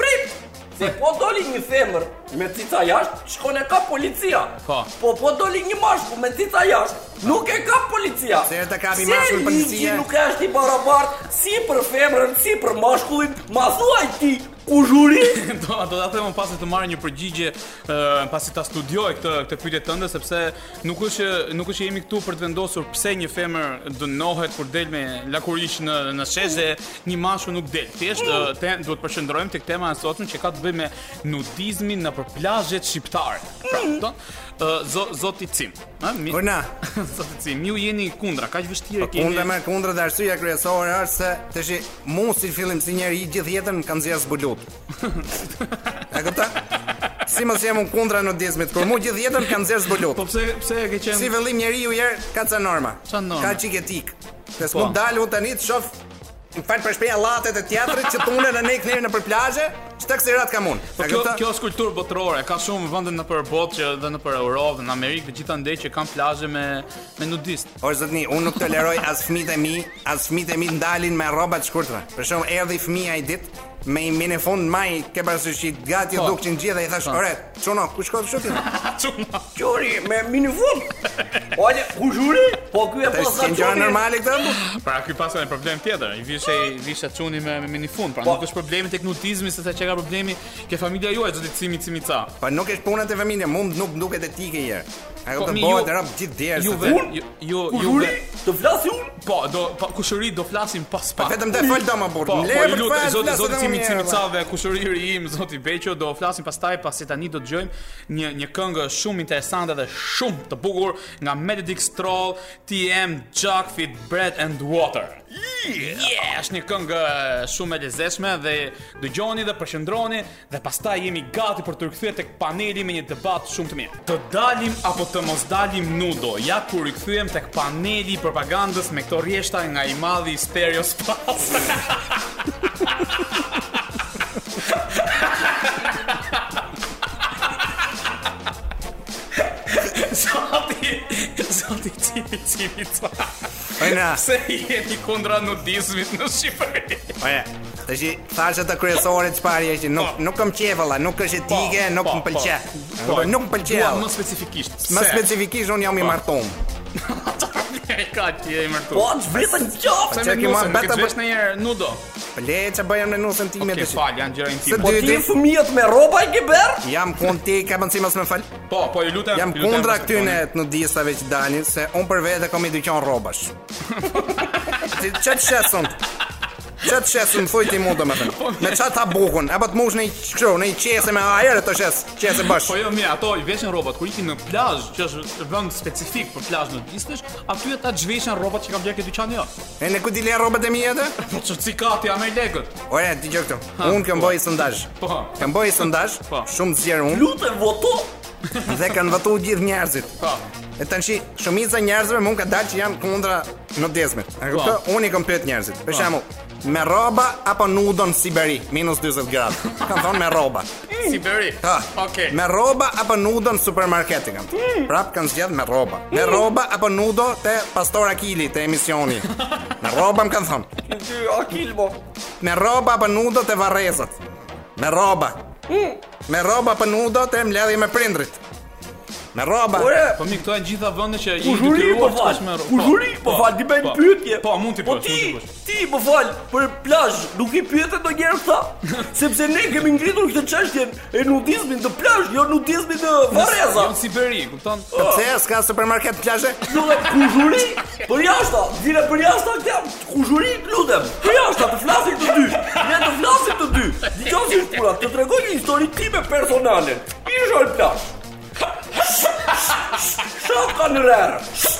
Speaker 3: prit, se po doli një femër me cica jashtë, shkon e ka policia.
Speaker 2: Po.
Speaker 3: po po doli një mashkull me cica jashtë, nuk e ka policia.
Speaker 5: Se e ta kapi
Speaker 3: Se
Speaker 5: mashkull policia.
Speaker 3: ligji nuk është i barabartë si për femrën, si për mashkullin. Ma thuaj ti, uzhuri.
Speaker 2: do do ta them unë pasi të marrë një përgjigje ë, pasi ta studioj këtë këtë pyetje tënde sepse nuk është nuk është që jemi këtu për të vendosur pse një femër dënohet kur del me lakurish në në shesh dhe një mashull nuk del. Thjesht ë, te duhet të përshëndrojmë tek tema e sotshme që ka të bëjë me nudizmin nëpër plazhet shqiptare. Pra, do ë, zo, zoti Cim, ë, mi-
Speaker 5: Urna.
Speaker 2: zoti Cim, ju jeni kundra, kaq vështirë keni.
Speaker 5: Po, Kundra me kundra dhe arsyeja kryesore është se tash mu si fillim si njeri i gjithë jetën më kanë zjerë zbulut. E kupton? Si mos jam unë kundra nudizmit, kur mu gjithë jetën më kanë zjerë zbulut.
Speaker 2: Po pse pse e ke qenë?
Speaker 5: Si fillim njeriu herë ka ca norma.
Speaker 2: Ca norma.
Speaker 5: Ka çik etik. Pse
Speaker 2: Po.
Speaker 5: s'mund dal unë tani të shoh
Speaker 1: Më fal për shpeja llatet e teatrit që tunen në nek në për plazhe, çta kësirat kam unë.
Speaker 2: Po
Speaker 1: E
Speaker 2: kjo,
Speaker 1: kupton?
Speaker 2: kjo është kulturë botërore, ka shumë vende në për botë që dhe në për Europë, në Amerikë, dhe gjitha ndej që kanë plazhe me, me nudist.
Speaker 1: Ore zotni, unë nuk toleroj as fëmijët e mi, as fëmijët e mi ndalin me rroba të shkurtra. Për shembull, erdhi fëmia ai ditë me i minë fund maj ke parasysh që gati
Speaker 2: Po.
Speaker 1: dukçin gjithë dhe i thash,
Speaker 2: Po.
Speaker 1: "Ore, çuno, ku shkon kështu ti?"
Speaker 2: Çuna.
Speaker 3: Qori me minifon. Ojë, ku juri? Po ky e
Speaker 1: Tash
Speaker 3: posa
Speaker 1: si gjëra normale këto? po?
Speaker 2: Pra ky pas një problem tjetër. I vishe vishe çuni me me minifund, pra
Speaker 3: Po.
Speaker 2: nuk është problemi tek nudizmi, se sa që ka problemi ke familja juaj zoti cimi cimica.
Speaker 1: Po nuk është puna te familja, mu nuk duket etike një herë. Ai
Speaker 2: Po,
Speaker 1: kupton
Speaker 2: mi,
Speaker 1: bëhet
Speaker 2: ju-
Speaker 1: rob gjithë derë.
Speaker 2: Ju
Speaker 1: se
Speaker 2: ve,
Speaker 1: të-
Speaker 2: ju ju
Speaker 3: Ku
Speaker 2: ju
Speaker 3: juri?
Speaker 2: ve.
Speaker 3: Të flasi unë?
Speaker 2: Po, do po kushëri do flasim pas pak.
Speaker 1: vetëm të fol doma burr.
Speaker 2: Po,
Speaker 1: Mle
Speaker 2: po ju
Speaker 1: për
Speaker 2: lutem
Speaker 1: fal,
Speaker 2: zoti
Speaker 1: flas
Speaker 2: zoti
Speaker 1: edhe
Speaker 2: cimi
Speaker 1: unë një herë,
Speaker 2: cimicave, kushëriri im zoti Beqo do flasim pastaj pasi tani do dëgjojmë një një këngë shumë interesante dhe shumë të bukur nga Melodic Stroll, TM Jackfit Bread and Water. Yeah, është një këngë shumë e lezeshme dhe dëgjoni dhe përshëndroni dhe pastaj jemi gati për të rikthyer tek paneli me një debat shumë të mirë. Të dalim apo të mos dalim nudo, ja ku rikthyem tek paneli i propagandës me këto rjeshta nga i madhi Sperios Pas. Zoti, zoti cimi cimi ca.
Speaker 1: Ojna.
Speaker 2: Pse jeni kundra nudizmit në Shqipëri?
Speaker 1: Ore, tash i thashë të kryesore çfarë je që nuk
Speaker 2: Po.
Speaker 1: nuk kam qejf valla, nuk është etike, nuk më pëlqen. Po, nuk më pëlqen.
Speaker 2: Dua
Speaker 1: valla.
Speaker 2: më specifikisht.
Speaker 1: Më specifikisht un
Speaker 2: Po.
Speaker 1: jam i martum.
Speaker 2: specifikisht. Ka ti e mërtu.
Speaker 3: Po atë vritën
Speaker 1: që
Speaker 3: qoftë.
Speaker 2: Pse
Speaker 1: ke
Speaker 2: më
Speaker 1: marrë
Speaker 2: nuk
Speaker 1: beta
Speaker 2: e
Speaker 1: për-
Speaker 2: vesh në herë nudo.
Speaker 1: Po le që bëjam në nusën time
Speaker 2: Ke
Speaker 1: tash.
Speaker 2: fal, janë gjëra
Speaker 1: Se
Speaker 2: intime.
Speaker 3: Po
Speaker 1: dy
Speaker 3: ti
Speaker 1: ditë
Speaker 3: fëmijët me rroba i ke berr?
Speaker 1: jam konti, ka mundësi mos më fal.
Speaker 2: Po, po ju lutem.
Speaker 1: Jam
Speaker 2: ju lutem,
Speaker 1: kundra
Speaker 2: mos e
Speaker 1: këtyne të nudistave që dalin se un për vete kam i dyqan rrobash. Ti çat shesun. Çat shesun thuj ti mund
Speaker 2: Po,
Speaker 1: domethënë. Me çat ta bukun, apo të mush në një kështu, në një qese me ajër të shes, qese bash.
Speaker 2: Po jo mirë, ato i veshin rrobat kur ikin në plazh, që është vend specifik për plazh nudistesh, aty ata zhveshin rrobat që kanë blerë ke dyqani jo.
Speaker 1: E ne ku di le rrobat e mia atë?
Speaker 2: Po çfarë kati ja me lekët?
Speaker 1: Ore, ti gjë këtu. Unë kam
Speaker 2: po.
Speaker 1: bëj sondazh.
Speaker 2: Po.
Speaker 1: Kam bëj sondazh,
Speaker 2: Po.
Speaker 1: shumë zgjer unë
Speaker 3: Lutem voto.
Speaker 1: dhe kanë votuar gjithë njerëzit.
Speaker 2: Po.
Speaker 1: E tani shi, shumica e njerëzve mund ka dalë që janë kundra nudizmit. E kupton? Unë i kam pyet njerëzit. Për shembull, me rroba apo nudon në Siberi, minus 40 gradë. Kan thonë me rroba.
Speaker 2: Si bëri?
Speaker 1: Ha.
Speaker 2: Okej.
Speaker 1: Eh. Me rroba apo nudo në supermarket i kam. Prap kanë zgjedh me rroba. Me rroba apo nudo te Pastor Akili te emisioni. Me rroba më kanë thonë.
Speaker 3: Ty Akil mo.
Speaker 1: Me rroba apo nudo te varrezat. Me rroba. Me rroba apo nudo te mbledhje me prindrit. Me rroba.
Speaker 3: Ore,
Speaker 2: Po mi këto janë gjitha vende që i
Speaker 3: Kuzhuri po fal. Kuzhuri po fal, di bëj pyetje.
Speaker 2: Po mund ti
Speaker 3: Po
Speaker 2: po,
Speaker 3: ti,
Speaker 2: mund ti po.
Speaker 3: ti po fal për plazh, nuk i pyetën ndonjëherë këta, sepse ne kemi ngritur këtë çështjen e nudizmit të plazh, jo nudizmit të varreza.
Speaker 2: Jon Jo, Siberi, kupton?
Speaker 3: Po.
Speaker 1: Pse s'ka supermarket plazhe?
Speaker 3: Jo dhe kuzhuri, për jashta, dire për jashta këtë kuzhuri lutem, për jashta të flasin të dy, ne të flasin të dy, diqo si është pura, të tregoj një histori time personale, i është orë plash, shaf ka në rrërë,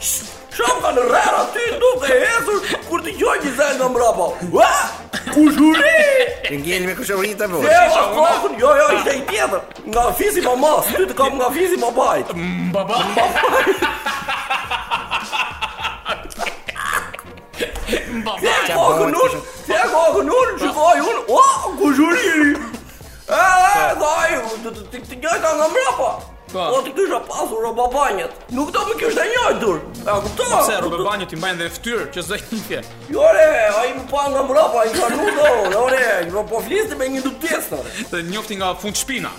Speaker 3: shaf ka në rrërë, aty nuk e hesur, kur t'i gjoj një zajnë nga mrapa, ua, kuzhuri,
Speaker 1: Që ngjen me kushorita po.
Speaker 3: e o kokën, jo, jo, ishte i tjetër, nga fisi ma mas, ty të kam nga fisi ma bajt,
Speaker 2: Baba.
Speaker 3: Te
Speaker 2: Baba.
Speaker 3: e kokën unë, te e kokën unë, shikoj unë, o, ku zhuriri. E, e, dhaj, të të të njëjta nga mrapa.
Speaker 2: Po.
Speaker 3: Po të kisha pasur roba banjet. Nuk do më kishte njëjtur. E kupton?
Speaker 2: Pse rrobë banjë ti mbajnë dhe fytyrë që zë hiqje.
Speaker 3: Jo re, ai më pa nga mrapa, ai ka nuk do. Jo re, jo po fliste me një dutesë.
Speaker 2: Të njofti nga fund shpina.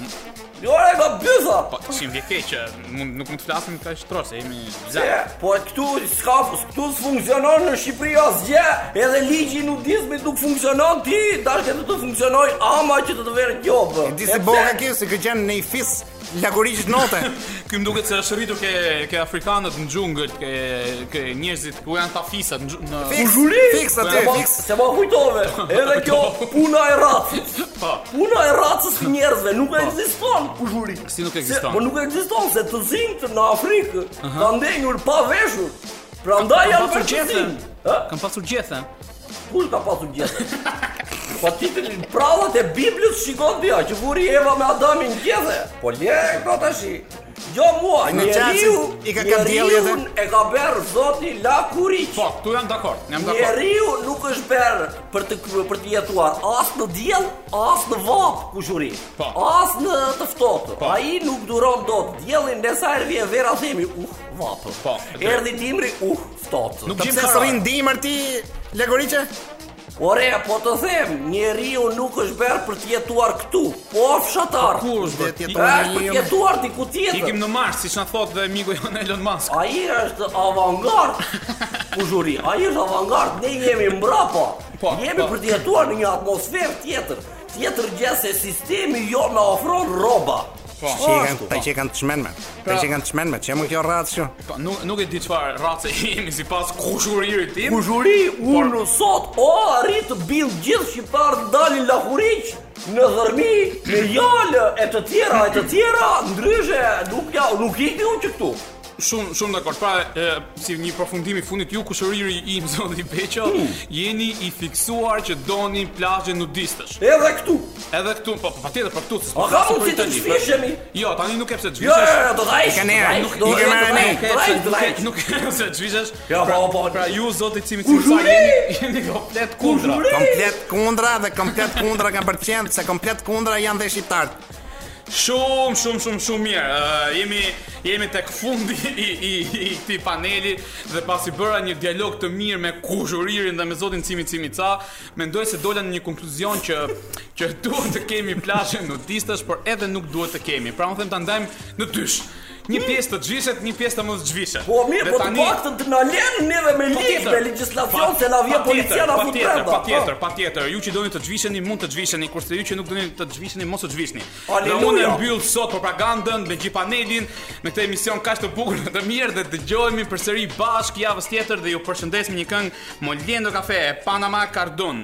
Speaker 3: Jo re, ka byza.
Speaker 2: Po si më vjen keq që mund nuk mund të flasim kaq shtror se jemi
Speaker 3: Se,
Speaker 2: bizar.
Speaker 3: po këtu s'ka, këtu s'funksionon në Shqipëri asgjë, edhe ligji i nudizmit nuk funksionon ti, dashkë të të funksionoj ama që të të verë gjobë.
Speaker 1: Di
Speaker 3: E
Speaker 1: si
Speaker 3: pse?
Speaker 1: boka kjo se kë gjen në i fis lagurisht note.
Speaker 2: Ky më duket se është rritur ke ke afrikanët në xhungël, ke ke njerëzit ku janë tafisat në xhu- në
Speaker 1: Fix,
Speaker 3: Kuzhuri?
Speaker 1: fix aty,
Speaker 3: Se ma-
Speaker 1: fix.
Speaker 3: Se ma kujtove, edhe kjo puna e racës.
Speaker 2: Po.
Speaker 3: Puna e racës të njerëzve nuk ekziston kuzhuri.
Speaker 2: Si nuk
Speaker 3: Se-
Speaker 2: ekziston?
Speaker 3: Po nuk ekziston se të zinjtë në Afrikë kanë ndenjur pa veshur. Prandaj
Speaker 2: Kam
Speaker 3: janë
Speaker 2: pasur
Speaker 3: për të
Speaker 2: gjethe.
Speaker 3: zinj. Ë?
Speaker 2: Kam pasur gjethe.
Speaker 3: Kush ka pasur gjethe? Po ti të prallat e Biblës shikon dia që vuri Eva me Adamin gjethe. Po le këto tash. Jo mua,
Speaker 5: Në
Speaker 3: njeriu
Speaker 5: qasin i ka kap dielli edhe?
Speaker 3: njeriun E ka berë zoti la kuriq.
Speaker 2: Po, tu jam dakord, jam dakord.
Speaker 3: Njeriu nuk është berë për të kry- për të jetuar as në diell, as në vap kushuri.
Speaker 2: Po.
Speaker 3: As në të ftohtë. Ai nuk duron dot diellin ndesa erdhi e vera themi, uh, vap.
Speaker 2: Po, e
Speaker 3: Erdhi dimri, uh, ftohtë.
Speaker 2: Nuk
Speaker 5: Po
Speaker 2: gjim
Speaker 5: pse
Speaker 2: karar.
Speaker 5: s'rin dimër ti Lagoriçe?
Speaker 3: Ore, po të them, njeriu nuk është berë për të jetuar këtu, po fshatar.
Speaker 2: Kur është
Speaker 5: Dhe
Speaker 2: bërë?
Speaker 5: tjetër-
Speaker 3: Është për të
Speaker 5: Njeriu-
Speaker 3: jetuar diku
Speaker 2: Ikim
Speaker 3: tjetër.
Speaker 2: në Mars, siç na thot dhe miku jon Elon Musk.
Speaker 3: Ai është avangard. Kuzhuri, ai është avangard, ne jemi mbrapa.
Speaker 2: Po,
Speaker 3: jemi
Speaker 2: po.
Speaker 3: për të jetuar në një atmosferë tjetër. Tjetër gjë se sistemi jo na ofron rroba. Po,
Speaker 5: Që i kanë, ta që i kanë të shmenme Ah, Ta që i kanë të shmenme, që më kjo ratë që
Speaker 2: Po, nuk nuk e di çfarë race jemi sipas kushuririt tim.
Speaker 3: Kuzhuri, unë
Speaker 2: Por-
Speaker 3: sot o arrit të bill gjithë shqiptarët dalin lahuriq në dhërmi, me jalë e të tjera e të tjera, ndryshe nuk ja, nuk ikni unë që këtu.
Speaker 2: Shumë shumë dakord. Pra, e, si një përfundim i fundit ju kushëriri i im zoti Beqo,
Speaker 3: Hmm.
Speaker 2: jeni i fiksuar që doni plazhe nudistësh.
Speaker 3: Edhe këtu.
Speaker 2: Edhe këtu, po po, patjetër për këtu. se s'po
Speaker 3: A ka
Speaker 2: flasim për
Speaker 3: mundësi të
Speaker 2: Itali, po.
Speaker 3: çfishemi?
Speaker 2: Jo, tani nuk e pse
Speaker 3: Jo,
Speaker 2: çvishesh.
Speaker 3: do të hajsh.
Speaker 5: I ka njerë,
Speaker 3: do të hajsh,
Speaker 5: i ka
Speaker 3: do të
Speaker 5: marrë ne.
Speaker 3: hajsh, do të hajsh, do të hajsh.
Speaker 2: Nuk e se çvishesh.
Speaker 3: Ja,
Speaker 2: pra,
Speaker 3: po, po.
Speaker 2: Pra ju zoti cimi
Speaker 3: Kush
Speaker 2: cimi sa
Speaker 3: uri?
Speaker 2: jeni jeni komplet kundra.
Speaker 3: Kush uri?
Speaker 5: Komplet kundra dhe komplet kundra kanë përqenë Se komplet kundra janë dhe shqiptarët
Speaker 2: Shumë, shumë, shumë, shumë mirë. Ë, jemi jemi tek fundi i i i këtij paneli dhe pasi bëra një dialog të mirë me kushuririn dhe me zotin Cimi Cimi Ca, mendoj se dola në një konkluzion që që duhet të kemi plazhe nudistësh, por edhe nuk duhet të kemi. Pra unë them ta ndajmë në dysh. Një pjesë të zhvishet, një pjesë të mos zhvishet.
Speaker 3: Po mirë,
Speaker 2: Dhe
Speaker 3: po të
Speaker 2: tani- Po
Speaker 3: paktën të na lënë neve me ligj, me legjislacion se na vjen policia na fut brenda.
Speaker 2: Patjetër, patjetër. Ju që doni të zhvisheni mund të zhvisheni, kurse ju që nuk doni të zhvisheni mos të zhvishni. Dhe
Speaker 3: Aleluja.
Speaker 2: unë e mbyll sot propagandën me gjipanelin, me këtë emision kaq të bukur dhe të mirë dhe dëgjohemi përsëri bashkë javës tjetër dhe ju përshëndes me një këngë Moliendo Cafe e Panama Cardon.